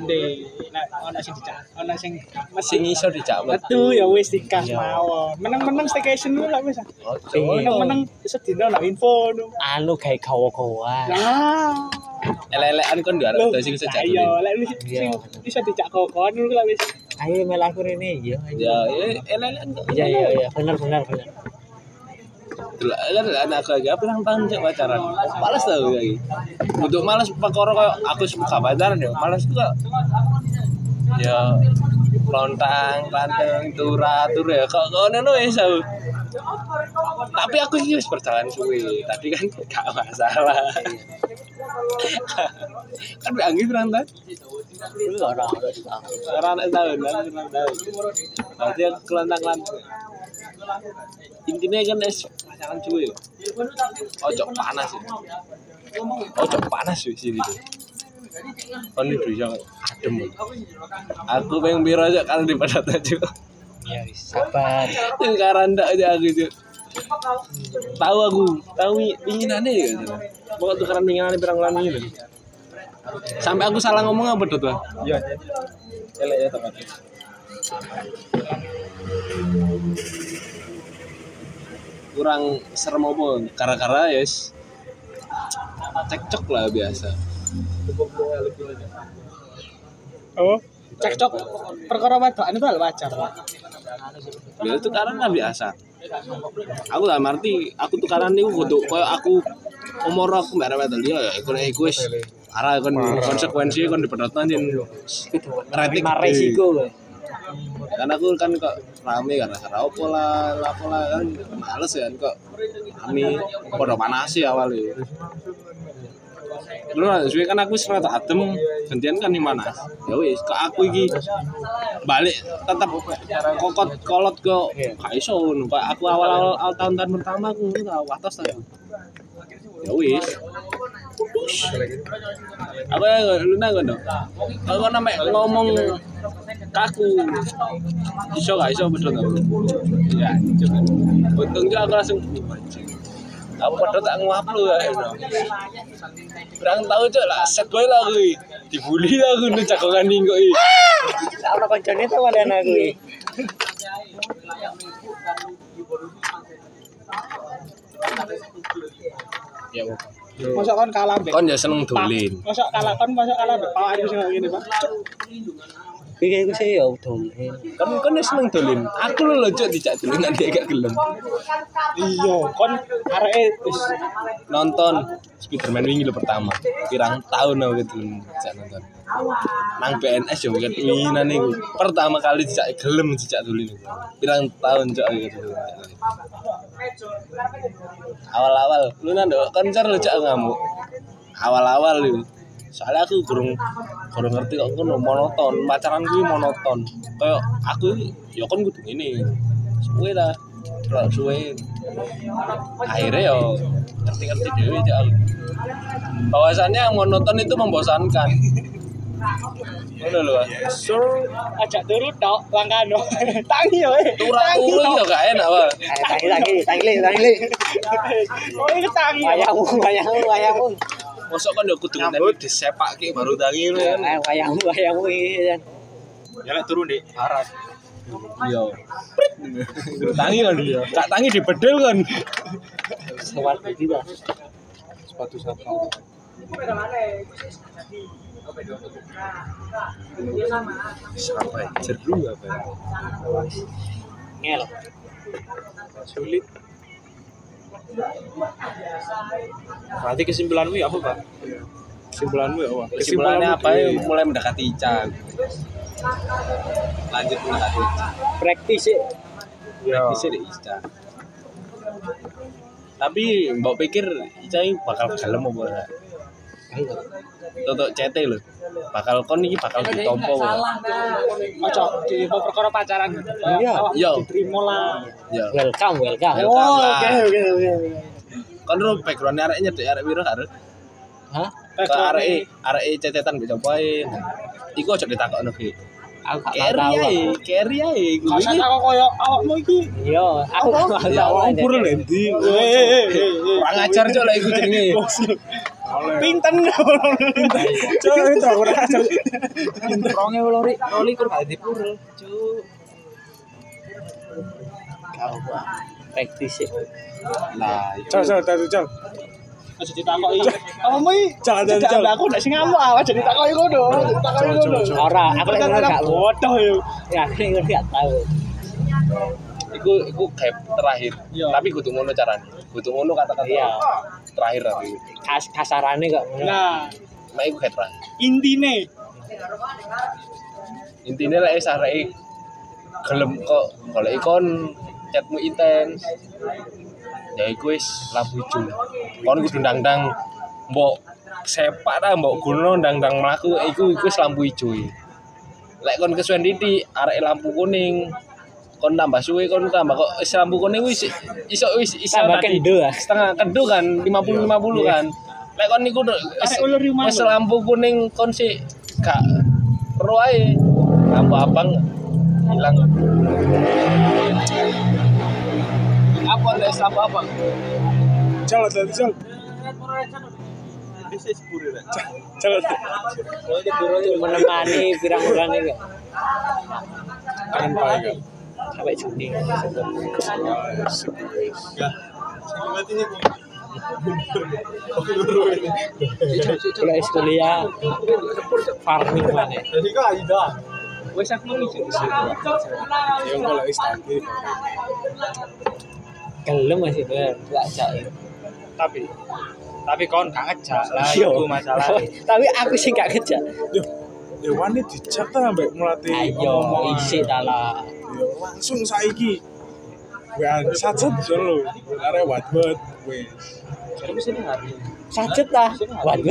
Speaker 5: Ndi, nek ana sing dicak, ana sing
Speaker 4: sing iso Iya. dicabut
Speaker 5: metu ya wis dikas mawon. Meneng-meneng staycation dulu lah wis. Oh, Meneng-meneng sedina ana info no.
Speaker 3: anu kayak kawa-kawa
Speaker 4: Nah.
Speaker 5: Lah.
Speaker 4: elek-elekan kon gak ada sing iso
Speaker 5: Iya,
Speaker 4: jadulin
Speaker 5: lek wis
Speaker 3: Iya.
Speaker 5: sing bisa dicak kokon dulu lah wis.
Speaker 3: ayo melaku ini iya
Speaker 4: ya ya, elek-elekan kok.
Speaker 3: iya iya iya benar benar benar
Speaker 4: Delok elek-elekan aku lagi apa nang tahun cek pacaran males tau gue lagi untuk males perkara koyo aku suka pacaran ya males juga ya lontang lanteng tura tur ya kok ngono no iso tapi aku ini wis berjalan suwe tadi kan gak masalah kan dianggap rantai
Speaker 3: Dulu orang harus tahu
Speaker 4: Orang anak tahun, orang anak tahun. Berarti aku kelantang lantung. Intinya kan es pasangan cuy. Ojo panas ya. Ojo panas ya sini tuh. Kan itu yang adem. ya. Aku pengen biru aja kan di padat aja.
Speaker 3: ya wis sabar
Speaker 4: Yang karanda aja aku itu. Tahu aku, tahu pinginannya ya. Pokok tukaran pinginannya pirang bulan ini. Sampai aku salah ngomong apa tuh? Iya. Elek ya tempatnya. kurang serem apa karena-karena ya yes. cekcok lah biasa
Speaker 5: Oh, cekcok perkara wedokan itu hal wajar.
Speaker 4: biasa tuh karena biasa aku lah arti aku tuh karena nih kudu koyo aku umur aku mbak Rawa tadi ya aku nih aku wis arah kon konsekuensi kon dipenat nanti rating
Speaker 3: Terima resiko
Speaker 4: karena aku kan kok rame karena sarau pola lah pola kan males kan kok kami pada panas sih awalnya Lu lah, suwe kan aku wis rada adem, gantian kan di mana? Ya wis, ke aku iki balik tetap kokot kolot ke gak iso ngono. Pak, aku awal-awal awal tahun-tahun pertama aku ngono ta watos ta. Ya wis. Aku ya, lu nang ngono. Aku kan mek ngomong kaku. Iso gak iso betul ta? Ya, cukup. Untungnya aku langsung Aku padha tak nguap lu ya. Kurang tahu cok lah set boy lah kuwi. Dibully lah aku nih cakongan ning kok iki.
Speaker 3: sama koncone tuh ada aku ya.
Speaker 4: Ya wong.
Speaker 5: Masa kon kalah mbek
Speaker 4: Kon ya seneng dolen.
Speaker 5: Masa kalah kon masa kalah mbek Pak Agus sing ngene, Pak. Cuk.
Speaker 3: Iki aku sih ya udol.
Speaker 4: Kon kon ya seneng dolen. Aku lu lo cok dijak dolen nanti gak gelem.
Speaker 5: Iya, kon areke wis
Speaker 4: Nonton Spiderman wingi lo pertama. Pirang tahun aku dolen dijak nonton. Nang PNS yo kan minane iku. Pertama kali dijak gelem dijak dolen. iku. Pirang tahun cok aku dolen. dijak dolen. Awal-awal lu nang ndok konser lo cok ngamuk. Awal-awal lu. Soalnya aku kurang kurang ngerti kok ngono monoton, pacaran kuwi monoton. Kayak aku iki ya kon kudu ngene. Suwe lah. Terlalu suwe. Akhirnya ya ngerti-ngerti dhewe cok aku. Bahwasannya monoton itu membosankan. Ngono lho.
Speaker 5: ajak turu tok langkano. Tangi yo. eh. Tangi,
Speaker 4: Turu-turu
Speaker 5: tok.
Speaker 4: ya gak enak, Pak.
Speaker 3: Tangi tangi tangi tangi.
Speaker 5: Oh, iki tangi.
Speaker 3: Wayangmu wayangmu wayangmu.
Speaker 4: Mosok kan ya kudu ngenteni disepake baru tangi lu kan.
Speaker 3: Eh, Wayangmu wayangmu iki kan.
Speaker 1: Ya lek turun, Dik.
Speaker 4: Parah. Iya. Guru tangi kan dia. Kak tangi dibedel kan.
Speaker 3: Sewat iki lah.
Speaker 1: Sepatu satu.
Speaker 4: Sampai jeru apa ya?
Speaker 3: Ngel.
Speaker 1: Sulit. Berarti kesimpulanmu ya apa, Pak? Kesimpulanmu ya apa?
Speaker 4: Kesimpulannya apa ya?
Speaker 5: iya.
Speaker 4: Mulai mendekati Ican. Lanjut mendekati Iya. Ican.
Speaker 3: Praktis sih.
Speaker 1: Ya.
Speaker 4: Bisa deh Ican. Tapi mbak pikir Ican ini bakal gelem apa ora? Tutuk CT lho. Bakal kon iki bakal ditompo. apa ora?
Speaker 5: Ojo di perkara pacaran.
Speaker 3: Iya.
Speaker 4: Iya.
Speaker 5: Diterima lah. oh,
Speaker 4: Ya.
Speaker 3: Welcome welcome.
Speaker 4: Welcome lah.
Speaker 5: oke oke. oke.
Speaker 4: Kon ro background arek nyedek arek piro arek?
Speaker 3: Hah?
Speaker 4: ke
Speaker 5: e.
Speaker 4: arek e, arek cecetan mbek copoe. Iku aja ditakokno ki.
Speaker 3: Aku gak
Speaker 4: Carry
Speaker 3: tahu.
Speaker 4: ae, carry ae iku.
Speaker 5: Masa tak koyo awakmu iki.
Speaker 3: Iya, aku gak tahu.
Speaker 4: Ya wong pur lendi. Kurang ajar cok lek iku jenenge. Pinten
Speaker 1: Cok, itu aku rasa.
Speaker 3: Rongnya lori, lori kur gak dipurul, cu. Kau gua praktis ya.
Speaker 4: Lah,
Speaker 1: Cok, cok, cok, cok.
Speaker 5: Aja ditakoki. Awakmu iki
Speaker 1: Jangan, jangan,
Speaker 5: cedak
Speaker 1: jangan.
Speaker 5: mbakku ndak sing ngamuk awak jadi takoki ngono. Takoki
Speaker 1: Jangan,
Speaker 5: ngono.
Speaker 1: jangan,
Speaker 3: Ora, aku lagi ngono gak lu.
Speaker 5: bodoh ya.
Speaker 3: Ya, aku lagi ngono gak tahu.
Speaker 4: iku iku gap terakhir.
Speaker 5: Iya.
Speaker 4: Tapi kudu ngono carane. Kudu ngono kata-kata.
Speaker 3: Iya.
Speaker 4: Terakhir tapi.
Speaker 3: Kas kasarannya kok ngono.
Speaker 5: Nah,
Speaker 4: Nah, iku gap terakhir.
Speaker 5: intine
Speaker 4: Intinya lah sareke gelem kok golek ikon chatmu intens. Ya iku wis labu ijo. Kon kudu ndang-ndang mbok sepak ta mbok guno ndang-ndang mlaku iku iku wis lampu ijo. ya. Lek kon kesuwen titik arek lampu kuning kon tambah suwe kon tambah kok wis lampu kuning wis iso wis iso
Speaker 3: Tambah
Speaker 4: tadi.
Speaker 3: kendo
Speaker 5: eh.
Speaker 3: ah.
Speaker 4: setengah kedu kan 50 50 kan lek kon niku do- wis
Speaker 5: Arek ulur rumah
Speaker 4: wis
Speaker 5: lho.
Speaker 4: lampu kuning kon sik gak ero ae lampu abang hilang
Speaker 5: apa les apa apa.
Speaker 1: Cok, cok, cok. Cok,
Speaker 3: Menemani pirang-pirang ini kok.
Speaker 1: Kan baik kan.
Speaker 3: Sampai Juni. Kuliah kuliah farming mana? Wes aku mau
Speaker 1: Yang kalau istri
Speaker 3: Gelem masih ber, gak cak.
Speaker 2: tapi tapi kon gak ngejak lah
Speaker 3: Iya.
Speaker 2: Ah, itu masalah
Speaker 3: Tapi aku sih gak kerja.
Speaker 1: Duh, Dewan ini dicat ta sampai melatih
Speaker 3: Ayo,
Speaker 1: omongan.
Speaker 3: isi tala.
Speaker 1: Yo, langsung saiki. Wean sat-sat solo. Arek wat-wat wis.
Speaker 3: Sajet lah, buat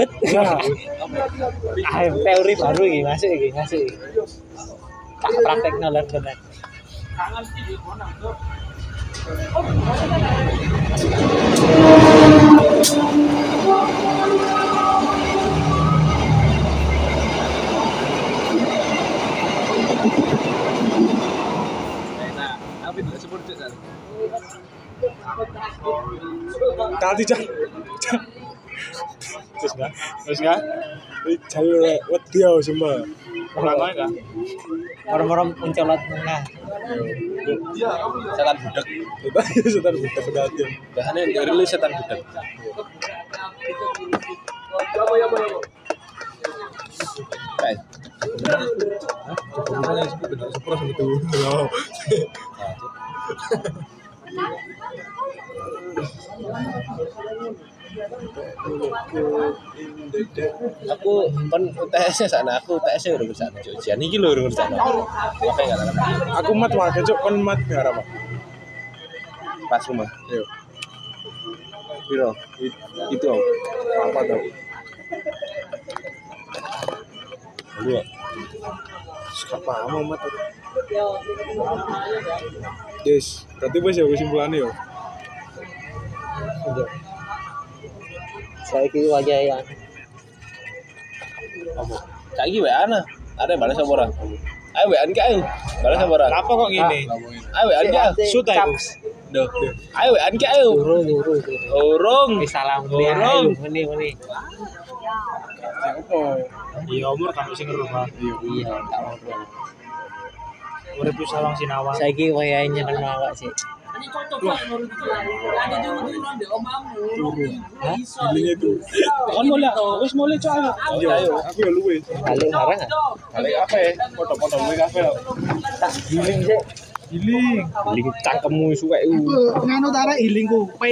Speaker 3: Ayo, teori baru ini masuk ini masuk ini. Tak praktek nalar benar.
Speaker 1: Tadi cak. Cak. Terus kan?
Speaker 2: terus gak
Speaker 1: Ini Jalur rek, wedi aku semua.
Speaker 2: ulang gak
Speaker 3: Orang-orang mencolot tengah.
Speaker 4: setan budek
Speaker 1: Kita setan budak pedati.
Speaker 4: biasanya yang dari lu setan budek Kayak
Speaker 1: Yo.
Speaker 4: aku kan UTS nya sana aku UTS nya udah bersana cuy ujian ini lho udah bersana apa yang gak tak
Speaker 1: Aku mat wae cuk, kon mat gak apa.
Speaker 4: pas rumah
Speaker 1: Yo.
Speaker 4: Biro, it- itu aku
Speaker 1: Apa tau?
Speaker 4: Lalu, aku.
Speaker 1: Gak paham aku mat. aku. Yes, berarti wis ya kesimpulannya yo.
Speaker 3: Saya kira wajah yang
Speaker 4: Saiki WA nah. Ada yang balas apa ora? Ayo WA ki ayo. Balas apa ora? Ah,
Speaker 2: apa kok ngene
Speaker 4: Ayo WA ki. ayo.
Speaker 2: suta iku
Speaker 4: Duh. Ayo WA ki ayo.
Speaker 3: luru luru. luru.
Speaker 4: Urung.
Speaker 3: Wis salam kuliah. Ayo, Ini ini.
Speaker 1: Ya apa?
Speaker 2: iya umur kamu sing rumah
Speaker 3: Iya, tak apa.
Speaker 2: urip wis sawang sinawang
Speaker 3: Saya kira wajah nyeneng awak sih.
Speaker 1: Feelingnya itu.
Speaker 5: Kon mulai, wis mulai cok. ayo.
Speaker 1: Yo, aku ya luwe.
Speaker 3: Balik barang ah.
Speaker 4: Balik kafe. Foto-foto gue kafe.
Speaker 3: Tak giling sih.
Speaker 1: Feeling.
Speaker 4: Link cangkemmu suwek.
Speaker 5: Nganu ta arek hilingku.